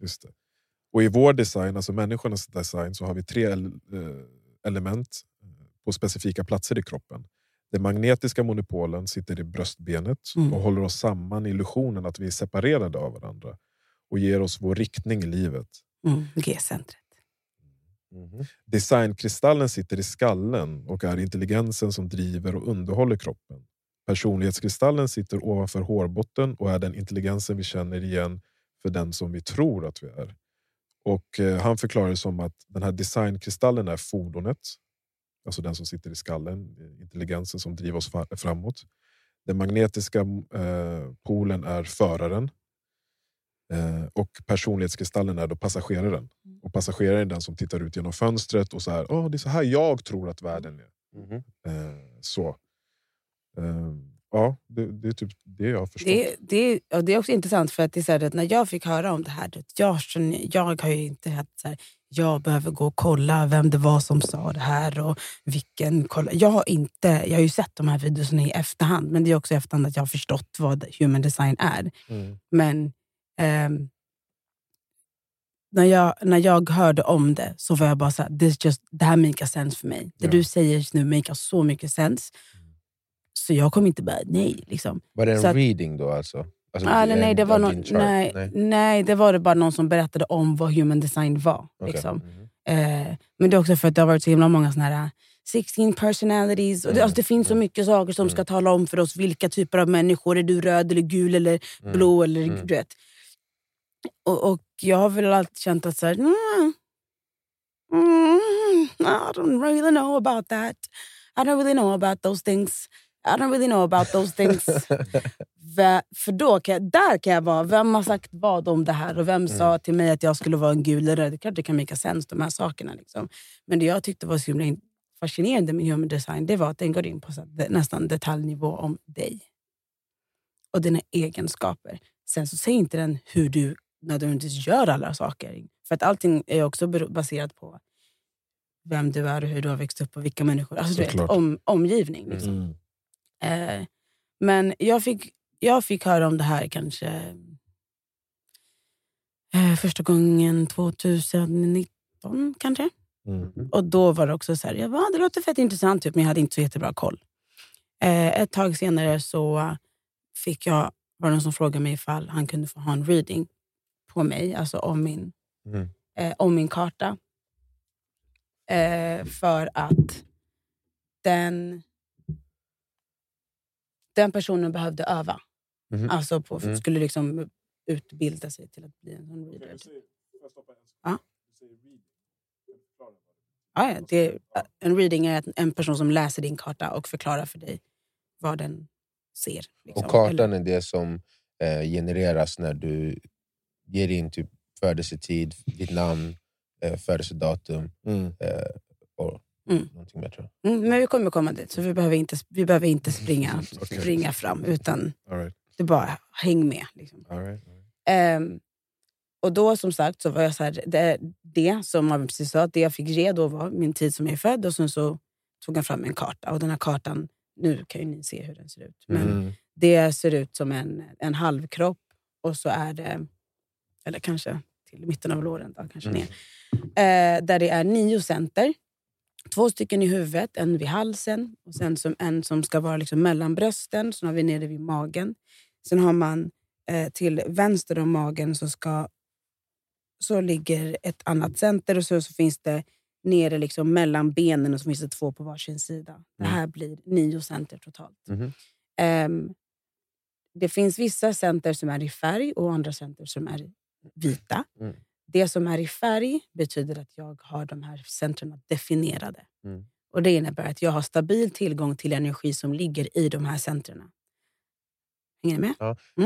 S3: just det. Och i vår design, alltså människornas design, så har vi tre el- eh, element eh, på specifika platser i kroppen. Den magnetiska monopolen sitter i bröstbenet
S4: Mm.
S3: och håller oss samman i illusionen att vi är separerade av varandra och ger oss vår riktning i livet.
S4: Mm. G-centret.
S1: Mhm.
S3: Designkristallen sitter i skallen och är intelligensen som driver och underhåller kroppen. Personlighetskristallen sitter ovanför hårbotten och är den intelligensen vi känner igen för den som vi tror att vi är. Och eh, Han förklarar det som att den här designkristallen är fordonet, alltså den som sitter i skallen, eh, intelligensen som driver oss fa- framåt. Den magnetiska eh, polen är föraren eh, och personlighetskristallen är då passageraren. Och passageraren är den som tittar ut genom fönstret och så här, Åh, det är så här jag tror att världen är.
S4: Mm-hmm.
S1: Mhm.
S3: Eh, så. Eh, ja, det, det är typ det jag har förstått.
S4: Det, det, och det är också intressant för att det är så här, att när jag fick höra om det här, då, jag, känner- jag har ju inte haft så här, jag behöver gå och kolla vem det var som sa det här och vilken kolla. Jag har inte, jag har ju sett de här videorna i efterhand, men det är också i efterhand att jag har förstått vad human design är.
S3: Mm.
S4: Men ehm, när, jag, när jag hörde om det så var jag bara så här, This just, det här make sense för mig. Det
S3: Ja. Mm.
S4: du säger just nu make så mycket sense. Så jag kommer inte bara, nej. Liksom.
S1: Var det
S4: Så
S1: en
S4: att-
S1: reading då alltså? alltså
S4: Ah, eller nej,
S1: en
S4: det var
S1: av
S4: någon,
S1: din chart?
S4: nej, nej. det var det bara någon som berättade om vad human design var.
S1: Okej.
S4: Liksom.
S1: Mhm.
S4: Eh, men det är också för att det har varit så himla många såna här 16 personalities. Och det,
S1: Mm,
S4: alltså, det finns så
S1: mm.
S4: mycket saker som
S1: Mm.
S4: ska tala om för oss vilka typer av människor. Är du röd eller gul eller blå? Eller,
S1: mm.
S4: du vet. Och, och jag har väl alltid känt att så här, mm, mm, I don't really know about that. I don't really know about those things. I don't really know about those things. Vä- För då kan jag, där kan jag vara, vem har sagt vad om det här och vem
S1: Mm.
S4: sa till mig att jag skulle vara en gul eller röd? Det är klart det kan make sense, de här sakerna. Liksom. Men det jag tyckte var så himla in- fascinerande med human design, det var att den går in på så här, nästan detaljnivå om dig och dina egenskaper. Sen så säger inte den hur du nödvändigtvis gör alla saker. För att allting är också bero- baserat på vem du är och hur du har växt upp och vilka människor. Alltså, du vet,
S3: Såklart.
S4: om, omgivning. Liksom.
S3: Mm.
S4: Eh, men jag fick, jag fick höra om det här kanske eh, första gången 2019 kanske.
S3: Mm.
S4: Och då var det också så här, jag bara, "Ah, det låter fett intressant typ, men jag hade inte så jättebra koll. Eh, ett tag senare så fick jag, var det någon som frågade mig ifall han kunde få ha en reading på mig, alltså om min,
S1: Mm.
S4: eh, om min karta. Eh, för att den, den personen behövde öva.
S1: Mhm.
S4: Alltså på,
S1: Mm.
S4: skulle liksom utbilda sig till att bli en sån reader. typ. Ja. Ja, ja, det är, en reading är att en person som läser din karta och förklarar för dig vad den ser. liksom.
S1: Och kartan
S4: Eller-
S1: är det som eh, genereras när du ger in typ födelsetid, ditt namn, eh, födelsedatum
S3: Mm.
S1: eh, och
S4: Mm.
S1: någonting mer tror jag.
S4: Mm, men vi kommer komma dit, så vi behöver inte, vi behöver inte springa,
S3: Okej.
S4: springa fram. Utan
S3: All right.
S4: du bara häng med. Liksom.
S3: All right.
S4: Ehm, och då som sagt så var jag så här, det, det som man precis sa, det jag fick ge då var min tid som jag är född och sen så tog han fram en karta. Och den här kartan, nu kan ju ni se hur den ser ut. Men
S3: Mm.
S4: det ser ut som en, en halvkropp och så är det, eller kanske till mitten av låren, då, kanske ner. Eh, där det är nio center. Två stycken i huvudet, en vid halsen och sen som en som ska vara liksom mellan brösten. Sen har vi nere vid magen. Sen har man eh, till vänster om magen så, ska, så ligger ett annat center och så, så finns det nere liksom mellan benen och så finns det två på varsin sida. Det här blir nio center totalt.
S1: Mhm.
S4: Ehm, det finns vissa center som är i färg och andra center som är vita.
S1: Mm.
S4: Det som är i färg betyder att jag har de här centren definierade.
S1: Mm.
S4: Och Det innebär att jag har stabil tillgång till energi som ligger i de här centren. Hänger ni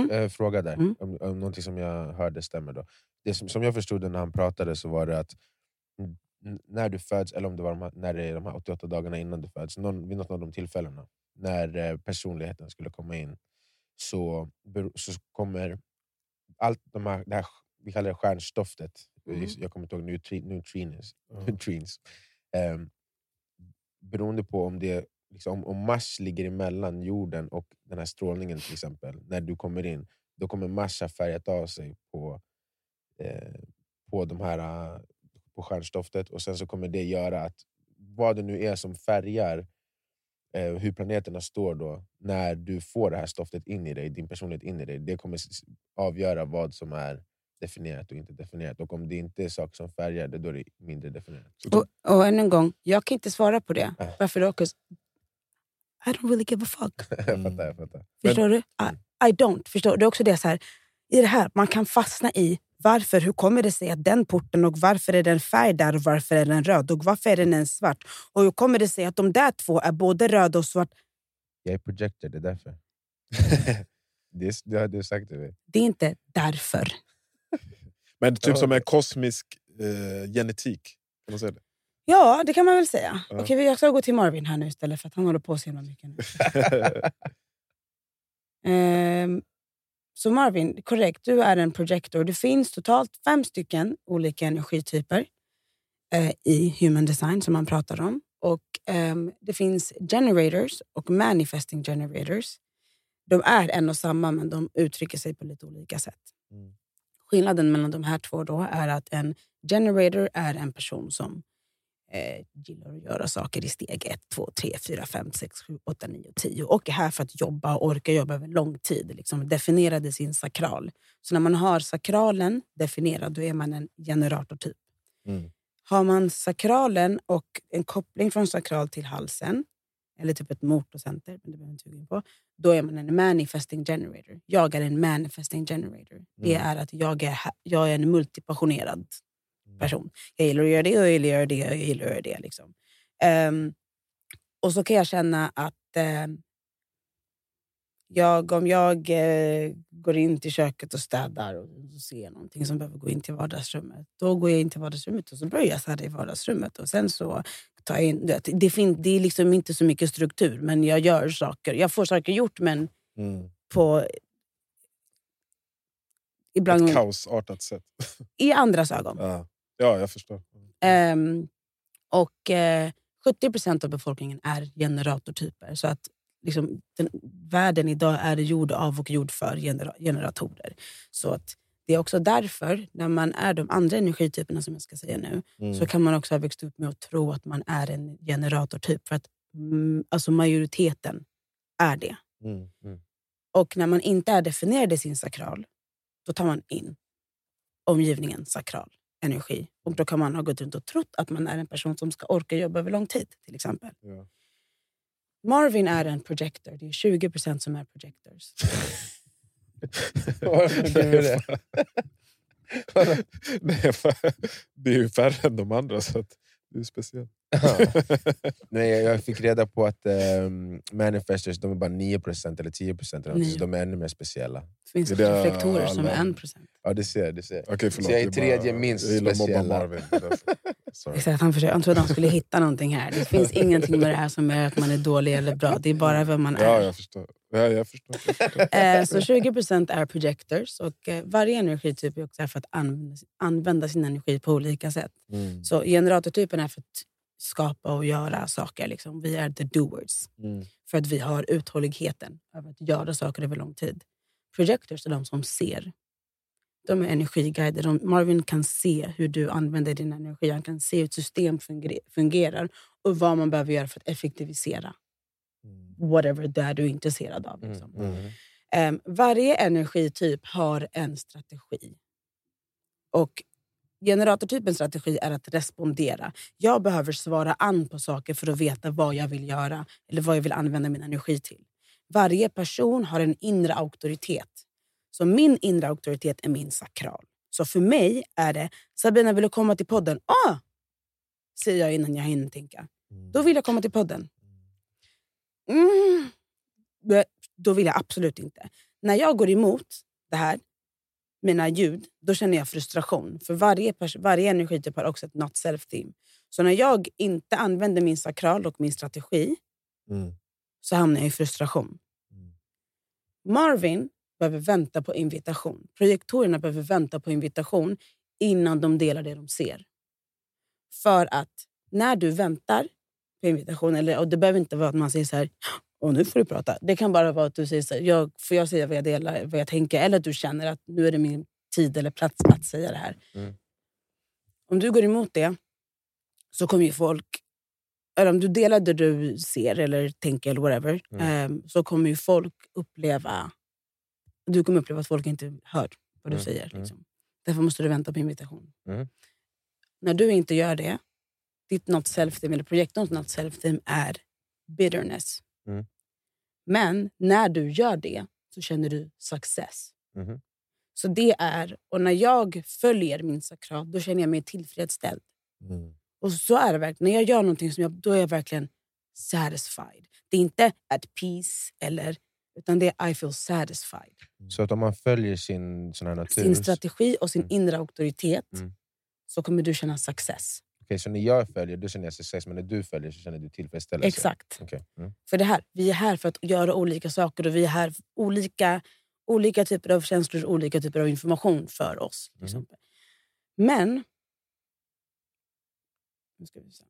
S4: med?
S1: eh, fråga där.
S4: Mm.
S1: Om, om någonting som jag hörde stämmer. då. Det som, som jag förstod det när han pratade så var det att n- n- när du föds, eller om det var de här, när det är de här 88 dagarna innan du föds, någon, vid något av de tillfällena, när eh, personligheten skulle komma in, så, bero- så kommer allt de här, det här, vi kallar det stjärnstoftet, eh,
S4: Mm.
S1: jag kommer inte ihåg, nutri, neutrinis,
S3: Ja.
S1: neutrins. Ehm, beroende på om, det, liksom, om Mars ligger emellan jorden och den här strålningen till exempel, när du kommer in, då kommer Mars ha färgat av sig på, eh, på, de här, eh, på stjärnstoftet och sen så kommer det göra att vad det nu är som färgar eh, hur planeterna står då, när du får det här stoftet in i dig, din personlighet in i dig, det kommer s- avgöra vad som är definierat och inte definierat. Och om det inte är saker som färgar det, då är det mindre definierat.
S4: Och, och ännu en gång, jag kan inte svara på det.
S1: Nej.
S4: Varför då? 'Cause I don't really give a fuck.
S1: jag fattar,
S4: Mm.
S1: jag fattar.
S4: Förstår du? I, I don't. Förstår du? Det är också det så här, i det här, man kan fastna i varför, hur kommer det sig att den porten och varför är den färg där och varför är den röd och varför är den ens svart? Och hur kommer det sig att de där två är både röda och svart?
S1: Jag är projector, det är
S4: Mm.
S1: därför. det, är- det har du sagt till mig.
S4: Det är inte därför.
S3: Men typ
S1: Ja.
S3: som en kosmisk eh, genetik. Kan man säga det?
S4: Ja, det kan man väl säga.
S3: Ja.
S4: Okej, jag ska gå till Marvin här nu istället för att han håller på så himla mycket nu. Ehm, så Marvin, korrekt. Du är en projektor. Det finns totalt fem stycken olika energityper eh, i human design som man pratar om. Och ehm, Det finns generators och manifesting generators. De är en och samma, men de uttrycker sig på lite olika sätt.
S1: Mm.
S4: Skillnaden mellan de här två då är att en generator är en person som eh, gillar att göra saker i steg 1, 2, 3, 4, 5, 6, 7, 8, 9, 10 och är här för att jobba och orka jobba över lång tid. Liksom definierade sin sakral. Så när man har sakralen definierad då är man en generatortyp.
S1: Mm.
S4: Har man sakralen och en koppling från sakral till halsen eller typ ett motorcenter, men det behöver jag inte gå in på, då är man en manifesting generator. Jag är en manifesting generator. Det
S1: Mm.
S4: är att jag är, här- jag är en multipassionerad
S1: Mm.
S4: person. Jag gillar att göra det och jag gillar att göra det och jag gillar att göra det. Liksom. Ehm, och så kan jag känna att ehm, jag, om jag eh, går in till köket och städar och så ser jag någonting som behöver gå in till vardagsrummet, då går jag in till vardagsrummet och så börjar jag städa i vardagsrummet. Och sen så tar jag in, du vet, det, fin, det är liksom inte så mycket struktur, men jag gör saker. Jag får saker gjort, men
S3: Mm.
S4: på... eh,
S3: Ett
S4: Ibland
S3: kaosartat sätt.
S4: i andras ögon.
S3: Ja, ja jag förstår.
S4: Ehm, och eh, 70 procent av befolkningen är generatortyper. Så att liksom, den, världen idag är gjord av och gjord för genera generatorer. Så att det är också därför, när man är de andra energityperna som jag ska säga nu, så kan man också ha växt upp med att tro att man är en generatortyp. För att mm, alltså majoriteten är det.
S1: Mm. Mm.
S4: Och när man inte är definierad i sin sakral, då tar man in omgivningens sakral energi. Och då kan man ha gått runt och trott att man är en person som ska orka jobba över lång tid, till exempel.
S3: Ja.
S4: Marvin är en projector. Det är 20 som är projectors.
S1: Varför gjorde du det?
S3: Nej, för, det är ju färre än de andra, så att det är speciellt.
S1: Nej, jag- jag fick reda på att ehm, manifestors de är bara 9% eller 10% eller någonting, så
S4: Nio.
S1: de är ännu mer speciella.
S4: Det finns
S3: Det där-
S4: reflektorer som är
S3: alla-
S4: 1
S1: Ja, det ser jag, det ser jag.
S3: Okej, förlåt.
S1: Så jag är
S3: det
S1: tredje minst
S3: jag gillar att mobba
S1: speciella.
S3: Marvin. det är därför. Sorry.
S4: Exakt, han, försöker, han trodde han skulle hitta någonting här. Det finns ingenting med det här som är att man är dålig eller bra. Det är bara vem man
S3: Ja,
S4: är.
S3: jag förstår. Ja, jag förstår. Jag förstår.
S4: Eh, så 20 är projectors. Och eh, varje energityp är också här för att använda, använda sin energi på olika sätt.
S1: Mm.
S4: Så generatortypen är för att skapa och göra saker. Liksom. Vi är the doers.
S1: Mm.
S4: För att vi har uthålligheten över att göra saker över lång tid. Projectors är de som ser. De är energiguider. De, Marvin kan se hur du använder din energi. Han kan se hur ett system funger- fungerar och vad man behöver göra för att effektivisera
S3: Mm.
S4: whatever det är du är intresserad av. Liksom.
S1: Mm.
S4: Ehm, varje energityp har en strategi. Och generatortypens strategi är att respondera. Jag behöver svara an på saker för att veta vad jag vill göra eller vad jag vill använda min energi till. Varje person har en inre auktoritet. Så min inre auktoritet är min sakral. Så för mig är det, Sabina vill du komma till podden? Ah! Säger jag innan jag hinner tänka. Då vill jag komma till podden. Mm. Då- Då vill jag absolut inte. När jag går emot det här, mina ljud, då känner jag frustration. För varje, pers- varje energityp har också ett not self-theme. Så när jag inte använder min sakral och min strategi
S1: Mm.
S4: så hamnar jag i frustration.
S1: Mm.
S4: Marvin behöver vänta på invitation. Projektorerna behöver vänta på invitation innan de delar det de ser. För att när du väntar på invitation. Eller, och det behöver inte vara att man säger så här, och nu får du prata. Det kan bara vara att du säger så här, jag, får jag säga vad jag delar, vad jag tänker? Eller att du känner att nu är det min tid eller plats att säga det här.
S1: Mm.
S4: Om du går emot det så kommer ju folk, eller om du delar det du ser eller tänker eller whatever,
S1: Mm.
S4: eh, så kommer ju folk uppleva, du kommer uppleva att folk inte hör vad du
S1: Mm,
S4: säger.
S1: mm.
S4: Liksom. Därför måste du vänta på invitation.
S1: Mm.
S4: När du inte gör det, ditt not self-team eller projektorns not self-team är bitterness.
S1: Mm.
S4: Men när du gör det så känner du success.
S1: Mhm.
S4: Så det är, och när jag följer min sakral, då känner jag mig tillfredsställd.
S3: Mm.
S4: Och så är det verkligen. När jag gör någonting som jag, då är jag verkligen satisfied. Det är inte at peace, eller, utan det är I feel satisfied.
S1: Så att om man följer sin sån här natur...
S4: Sin strategi och sin
S1: Mm.
S4: inre auktoritet
S1: Mm.
S4: så kommer du känna success.
S1: Okej, så när jag följer då känner jag success, men när du följer så känner du tillfredsställelse?
S4: Exakt.
S1: Okej, Mm.
S4: För det här, vi är här för att göra olika saker och vi är här för olika, olika typer av känslor och olika typer av information för oss. Till
S1: Mhm.
S4: exempel. Men... Nu ska vi se.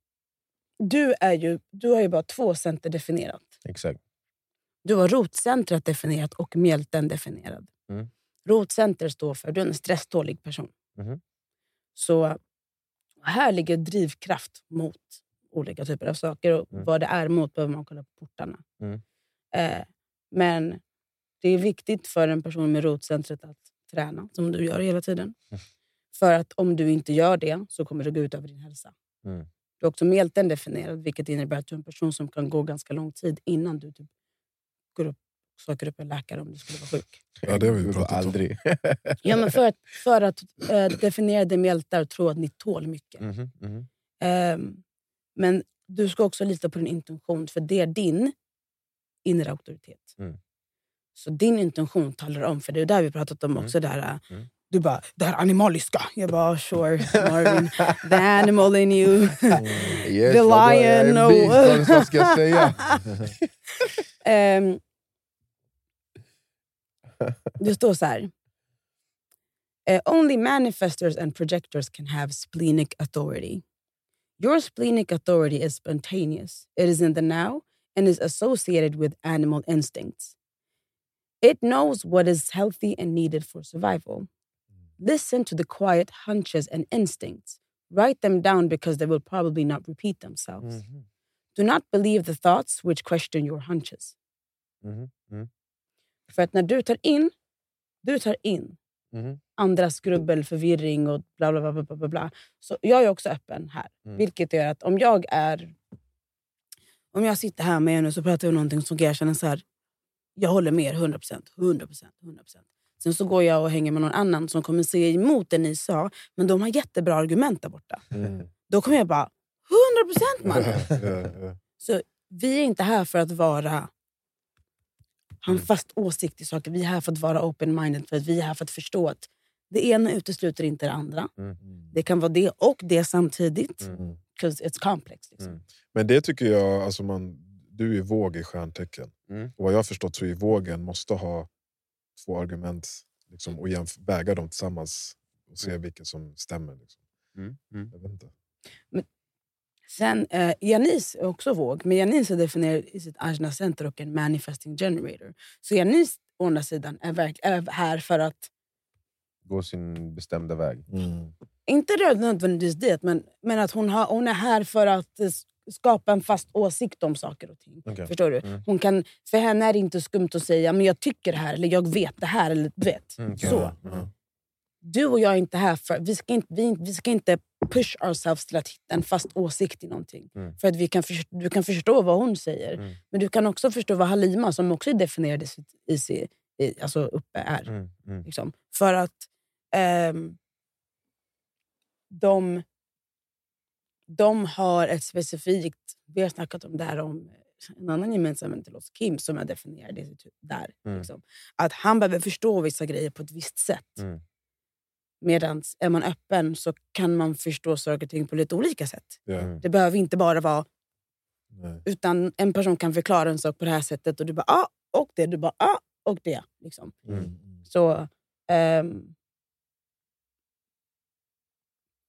S4: Du, är ju, du har ju bara två center definierat.
S1: Exakt.
S4: Du har rotcentret definierat och mjälten definierad.
S1: Mm.
S4: Rotcenter står för du är en stresstålig person.
S1: Mhm.
S4: Så här ligger drivkraft mot olika typer av saker. Och
S1: Mm.
S4: Vad det är mot behöver man kolla på portarna.
S1: Mm.
S4: Eh, men det är viktigt för en person med rotcentret att träna, som du gör hela tiden.
S1: Mm.
S4: För att om du inte gör det så kommer det gå ut över din hälsa.
S1: Mm.
S4: Du är också mjälten definierad, vilket innebär att du är en person som kan gå ganska lång tid innan du typ går upp, söker upp en läkare om du skulle vara sjuk.
S3: Ja, det har vi
S1: går
S3: pratat om.
S1: aldrig.
S4: Ja, men för att, för att eh, definiera dig med hjältar och tro att ni tål mycket.
S1: Mhm, mhm.
S4: Ehm, men du ska också lita på din intuition, för det är din inre auktoritet.
S1: Mm.
S4: Så din intuition talar om, för det är där vi pratat om också. Det här, eh,
S1: Mm.
S4: Du bara, det här animaliska. Jag bara, sure Marvin. The animal in you.
S1: Yes,
S4: The
S1: vadå, jag är
S4: lion
S1: en
S4: och-
S1: beast, vad ska jag säga?
S4: Ehm, det står så här. Eh, Only manifestors and projectors can have splenic authority. Your splenic authority is spontaneous. It is in the now and is associated with animal instincts. It knows what is healthy and needed for survival. Listen to the quiet hunches and instincts. Write them down because they will probably not repeat themselves.
S1: Mhm,
S4: Do not believe the thoughts which question your hunches.
S1: mhm, mhm,
S4: För att när du tar in, du tar in
S1: mhm,
S4: andras grubbel, förvirring och bla bla bla. bla, bla, bla, bla. Så jag är också öppen här.
S1: Mm.
S4: Vilket gör att om jag är... Om jag sitter här med er nu så pratar vi om någonting som jag känner så här. Jag håller med er 100 procent, 100 procent, 100 procent. Sen så går jag och hänger med någon annan som kommer säga emot det ni sa. Men de har jättebra argument där borta.
S3: Mm.
S1: mhm.
S4: Då kommer jag bara, 100 procent man! Så vi är inte här för att vara ha en
S1: Mm.
S4: fast åsikt i saker. Vi är här för att vara open-minded. För att vi är här för att förstå att det ena utesluter inte det andra. Det kan vara det och det samtidigt.
S1: Mm.
S4: Because it's complex. Liksom.
S1: Mm.
S3: Men det tycker jag, alltså man, du är våg i stjärntecken.
S1: Mm.
S3: Och vad jag har förstått så är vågen måste ha två argument liksom, och jämf- väga dem tillsammans och se vilket som stämmer. Liksom.
S1: Mm, mm.
S3: Jag vet inte.
S4: Sen eh, Janis är också våg. Men Janis är definierad i sitt Ajna Center och en manifesting generator. Så Janis å andra sidan är, verk- är här för att,
S1: Gå sin bestämda väg.
S4: Mm. inte nödvändigtvis det, men, men att hon, har, hon är här för att eh, skapa en fast åsikt om saker och ting.
S1: Okej.
S4: Förstår du?
S1: Mm.
S4: Hon kan, för henne är det inte skumt att säga men jag tycker det här eller jag vet det här. Eller, du vet.
S1: Mm, okej.
S4: Så.
S3: Ja.
S4: Du och jag är inte här för... Vi ska inte, vi, vi ska inte push ourselves till att hitta en fast åsikt i någonting.
S1: Mm.
S4: För att vi kan för, du kan förstå vad hon säger.
S1: Mm.
S4: Men du kan också förstå vad Halima, som också är definierad i, sitt- i, si- i, alltså uppe, är.
S1: Mm, mm.
S4: Liksom. För att ehm, de, de har ett specifikt... Vi har snackat om det här om en annan gemensam vän till oss, Kim, som är definierad i sitt huvud där.
S1: Mm.
S4: Liksom. Att han behöver förstå vissa grejer på ett visst sätt.
S1: Mm.
S4: Medan är man öppen så kan man förstå saker och ting på lite olika sätt.
S3: Ja,
S1: Mm.
S4: Det behöver inte bara vara...
S3: nej.
S4: Utan en person kan förklara en sak på det här sättet och du bara ah, och det. Du bara ah, och det. Liksom.
S1: Mm.
S3: Mm.
S4: Så ehm,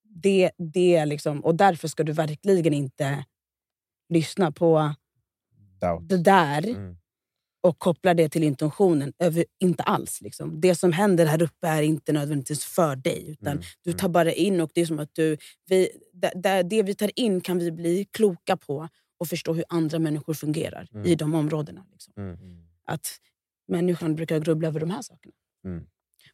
S4: det, det är liksom, och därför ska du verkligen inte lyssnar på
S1: Doubt.
S4: det där
S1: Mm.
S4: och kopplar det till intentionen. Över, inte alls. Liksom. Det som händer här uppe är inte nödvändigtvis för dig. Utan
S1: Mm,
S4: Du
S1: mm.
S4: tar bara in och det är som att du... Vi, där, där, det vi tar in kan vi bli kloka på och förstå hur andra människor fungerar
S1: Mm.
S4: i de områdena. Liksom.
S1: Mm.
S4: Att människan brukar grubbla över de här sakerna.
S1: Mm.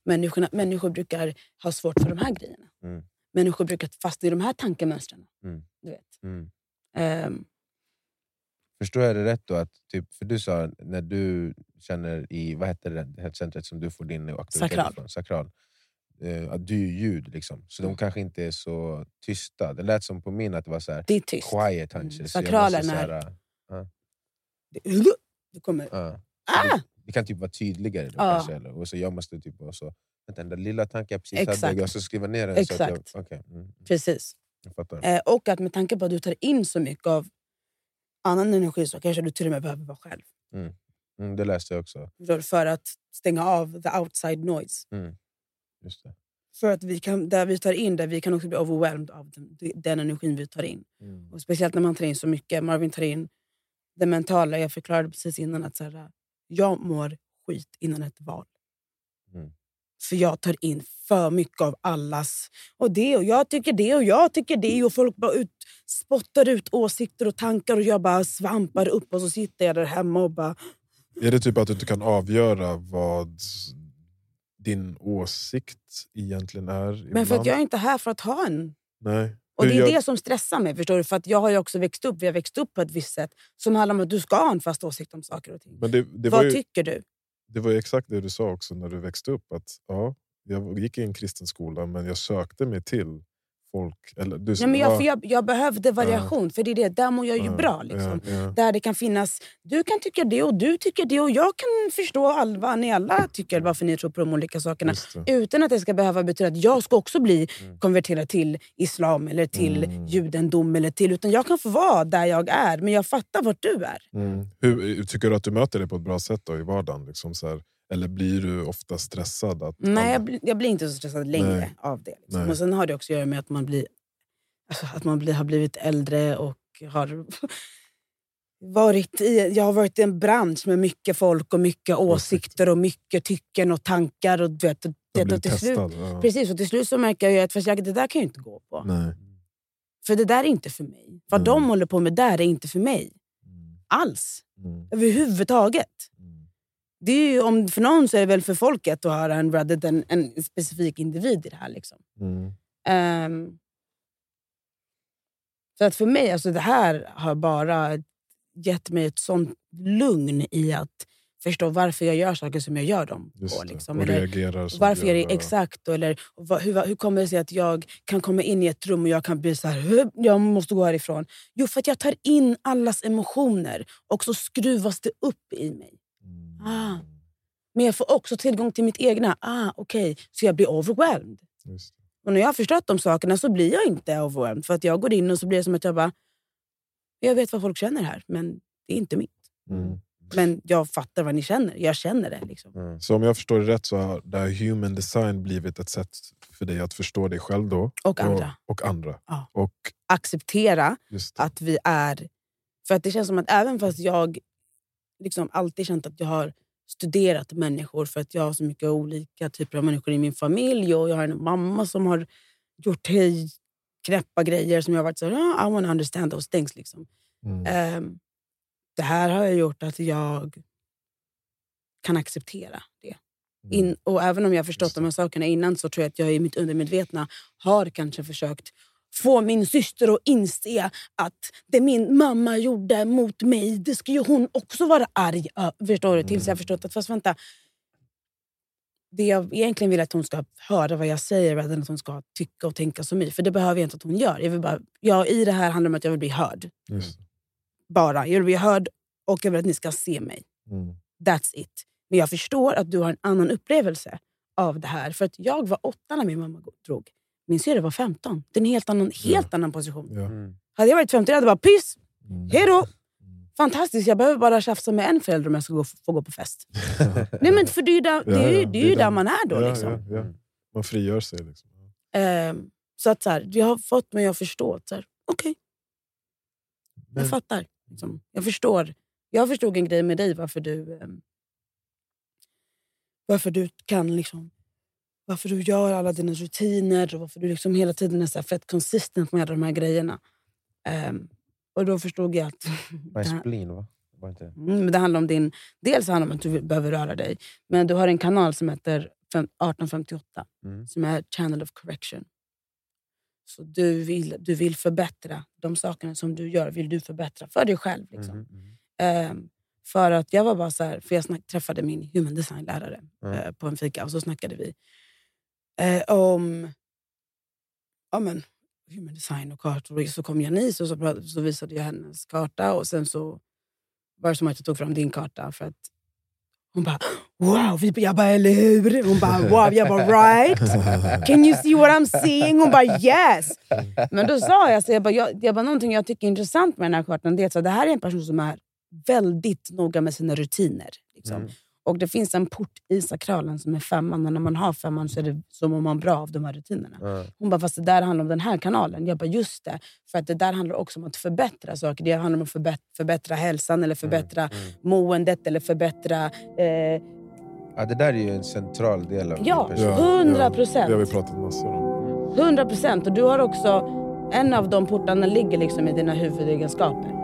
S4: Människorna, människor brukar ha svårt för de här grejerna.
S1: Mm.
S4: Människor brukar fastna i de här tankemönstren.
S1: Mm.
S4: Du vet.
S1: Mm.
S4: Ehm,
S1: Förstår jag det rätt då? Att, typ, för du sa när du känner i, vad heter det, det här centret som du får din aktivitet
S4: Sakral.
S1: ifrån? Sakral. Eh, att du är ljud liksom. Så
S4: Mm.
S1: de kanske inte är så tysta. Det lät som på min att det var så här,
S4: det är tyst.
S1: quiet hunches.
S4: Mm.
S1: Så jag
S4: Sakralen
S1: måste så
S4: är-
S1: här,
S4: Det- Du kommer...
S1: ah,
S4: Ah!
S1: Det kan typ vara tydligare. Då,
S4: Ja.
S1: kanske, eller? Och så jag måste typ vara så... Vänta, den där lilla tanken jag precis
S4: Exakt.
S1: hade, jag ska skriva ner den. Så att
S4: Exakt.
S1: jag, okej, mm,
S4: Precis.
S1: jag fattar.
S4: Eh, och att med tanke på att du tar in så mycket av annan energi så kanske du till och med behöver vara själv.
S1: Mm, det läste jag också.
S4: Förstår du? För att stänga av the outside noise.
S1: Just det.
S4: För att vi kan, där vi tar in det, vi kan också bli overwhelmed av den, den energin vi tar in. Och speciellt när man tar in så mycket. Marvin tar in det mentala. Jag förklarade precis innan att så här, jag mår skit innan ett val.
S1: Mm.
S4: För jag tar in för mycket av allas... Och det och jag tycker det och jag tycker det. Och folk bara ut, spottar ut åsikter och tankar och jag bara svampar upp och så sitter jag där hemma och bara...
S3: Är det typ att du inte kan avgöra vad din åsikt egentligen är?
S4: Men för att
S3: ibland?
S4: jag är inte här för att ha en
S3: Nej.
S4: Och
S3: Hur
S4: Det är
S3: gör-
S4: det som stressar mig. förstår du? För att Jag har ju också växt upp vi har växt upp på ett visst sätt som handlar om att du ska ha en fast åsikt om saker och ting.
S3: Men det, det, var
S4: Vad
S3: ju,
S4: tycker du?
S3: det var ju exakt det du sa också när du växte upp. Att, ja, jag gick i en kristen skola men jag sökte mig till folk. Eller, du,
S4: Nej, men jag,
S3: ja,
S4: för jag, jag behövde variation, för det är det. där mår jag ju
S3: ja,
S4: bra. Liksom.
S3: Ja, ja.
S4: Där det kan finnas, du kan tycka det och du tycker det och jag kan förstå all, vad ni alla tycker varför ni tror på de olika sakerna.
S3: Just det.
S4: Utan att det ska behöva betyda att jag ska också bli
S1: Mm.
S4: konverterad till islam eller till
S3: Mm.
S4: judendom. Eller till, utan jag kan få vara där jag är, men jag fattar vart du är.
S3: Mm. Hur, tycker du att du möter det på ett bra sätt då, i vardagen? Liksom så här, eller blir du ofta stressad? Att
S4: Nej, jag, bli, jag blir inte så stressad längre
S3: Nej.
S4: av det.
S3: Nej.
S4: Liksom. Och sen har det också att göra med att man, blir, alltså, att man blir, har blivit äldre och har varit i, jag har varit i en bransch med mycket folk och mycket åsikter och mycket tycken och tankar. Och, du vet, det,
S3: jag blir
S4: och till, slut,
S3: testad? Ja.
S4: precis, och till slut så märker jag ju att fast jag, det där kan jag ju inte gå på.
S3: Nej.
S4: För det där är inte för mig. Vad
S3: Mm.
S4: de håller på med där är inte för mig
S3: Mm.
S4: alls.
S3: Mm.
S4: Överhuvudtaget.
S3: Mm.
S4: Det är ju, om, för någon så är det väl för folket att höra en rather than en specifik individ i det här. Liksom.
S3: Mm.
S4: Ehm, så att för mig, alltså det här har bara gett mig ett sånt lugn i att förstå varför jag gör saker som jag gör dem.
S3: Just
S4: På,
S3: det.
S4: liksom.
S3: och
S4: Eller
S3: reagerar som
S4: varför
S3: du
S4: jag
S3: gör,
S4: är exakt, och- eller vad, hur, hur kommer det sig att jag kan komma in i ett rum och jag kan bli så här, "Hup, jag måste gå härifrån. Jo, för att jag tar in allas emotioner och så skruvas det upp i mig.
S3: ja. Mm.
S4: Ah. Men jag får också tillgång till mitt egna. Ah, okej. Så jag blir overwhelmed.
S3: Just det.
S4: Och när jag har förstått de sakerna så blir jag inte overwhelmed. För att jag går in och så blir det som att jag bara... Jag vet vad folk känner här, men det är inte mitt.
S3: Mm.
S4: Men jag fattar vad ni känner. Jag känner det. Liksom.
S1: Mm.
S3: Så om jag förstår det rätt så har det här human design blivit ett sätt för dig att förstå dig själv då.
S4: Och andra.
S3: Och, och andra.
S4: Ja.
S3: Och
S4: Acceptera
S3: just det.
S4: att vi är... För att det känns som att även fast jag liksom alltid känt att jag har studerat människor för att jag har så mycket olika typer av människor i min familj och jag har en mamma som har gjort hej, knäppa grejer som jag har varit så här, "Ah, I want to understand those things. Liksom.
S3: Mm.
S4: Ehm, det här har jag gjort att jag kan acceptera det. In, och även om jag har förstått
S3: Mm. Just det.
S4: de här sakerna innan så tror jag att jag i mitt undermedvetna har kanske försökt få min syster att inse att det min mamma gjorde mot mig, det ska ju hon också vara arg ö- Förstår du? Tills
S3: Mm.
S4: jag förstått att, fast vänta. Det jag egentligen vill är att hon ska höra vad jag säger rather än att hon ska tycka och tänka som mig. För det behöver jag inte att hon gör. Jag vill bara, jag, I det här handlar det om att jag vill bli hörd
S3: Just det.
S4: bara. Jag vill bli hörd och jag vill att ni ska se mig.
S3: Mm.
S4: That's it. Men jag förstår att du har en annan upplevelse av det här. För att jag var åtta när min mamma drog. Min syrra var 15. Det är en helt annan, helt annan position.
S3: Ja.
S1: Mm.
S4: Hade jag varit 15 hade jag bara piss,
S3: Mm.
S4: hej då!
S3: Mm.
S4: Fantastiskt, jag behöver bara tjafsa med en förälder om jag ska gå, få gå på fest. Nej, men för det är ju där, det är
S3: Ja,
S4: ju,
S3: ja,
S4: det är ju där man är då.
S3: Ja,
S4: liksom.
S3: ja, ja. Man frigör sig. Liksom.
S4: Ehm, så att så här, jag har fått mig att förstå att så här, okej, Jag fattar. Liksom. Jag förstår. Jag förstod en grej med dig varför du... ehm, varför du kan liksom... Varför du gör alla dina rutiner och varför du liksom hela tiden är så här fett consistent med alla de här grejerna. Ehm, och då förstod jag att...
S1: My
S4: det här-
S1: spleen, va? Var inte det?
S4: Mm, men det handlar om din, dels handlar det om att du behöver röra dig, men du har en kanal som heter fem- 1858
S1: Mm.
S4: som är Channel of Correction. Så du vill, du vill förbättra de sakerna som du gör, vill du förbättra för dig själv. Liksom.
S1: Mhm, mhm.
S4: Ehm, för att jag var bara så här, för jag snack, träffade min human design-lärare
S1: Mm.
S4: eh, på en fika och så snackade vi eh, om ja, men, human design och kartor. Och Så kom Janice och så, prat- så visade jag hennes karta och sen så var det som att jag tog fram din karta för att hon bara wow, vi, jag bara eller hur? Hon bara wow, jag bara right. Can you see what I'm seeing? Hon
S1: Mm.
S4: bara yes! Men då sa jag, så jag, bara, jag, jag bara, någonting jag tycker är intressant med den här kartan det är att så det här är en person som är väldigt noga med sina rutiner. Liksom.
S1: Mm.
S4: Och det finns en port i sakralen som är femman och när man har femman så är det som om man bra av de här rutinerna.
S1: Ja.
S4: Hon bara, fast det där handlar om den här kanalen. Jag bara, just det. För att det där handlar också om att förbättra saker. Det handlar om att förbättra, förbättra hälsan eller förbättra
S1: Mm.
S4: måendet eller förbättra... Eh,
S1: Ja, det där är ju en central del av
S4: Ja.
S1: min person.
S3: Ja.
S4: hundra procent.
S3: Det har vi pratat massor om.
S4: 100 procent. Och du har också... En av de portarna ligger liksom i dina huvudegenskaper.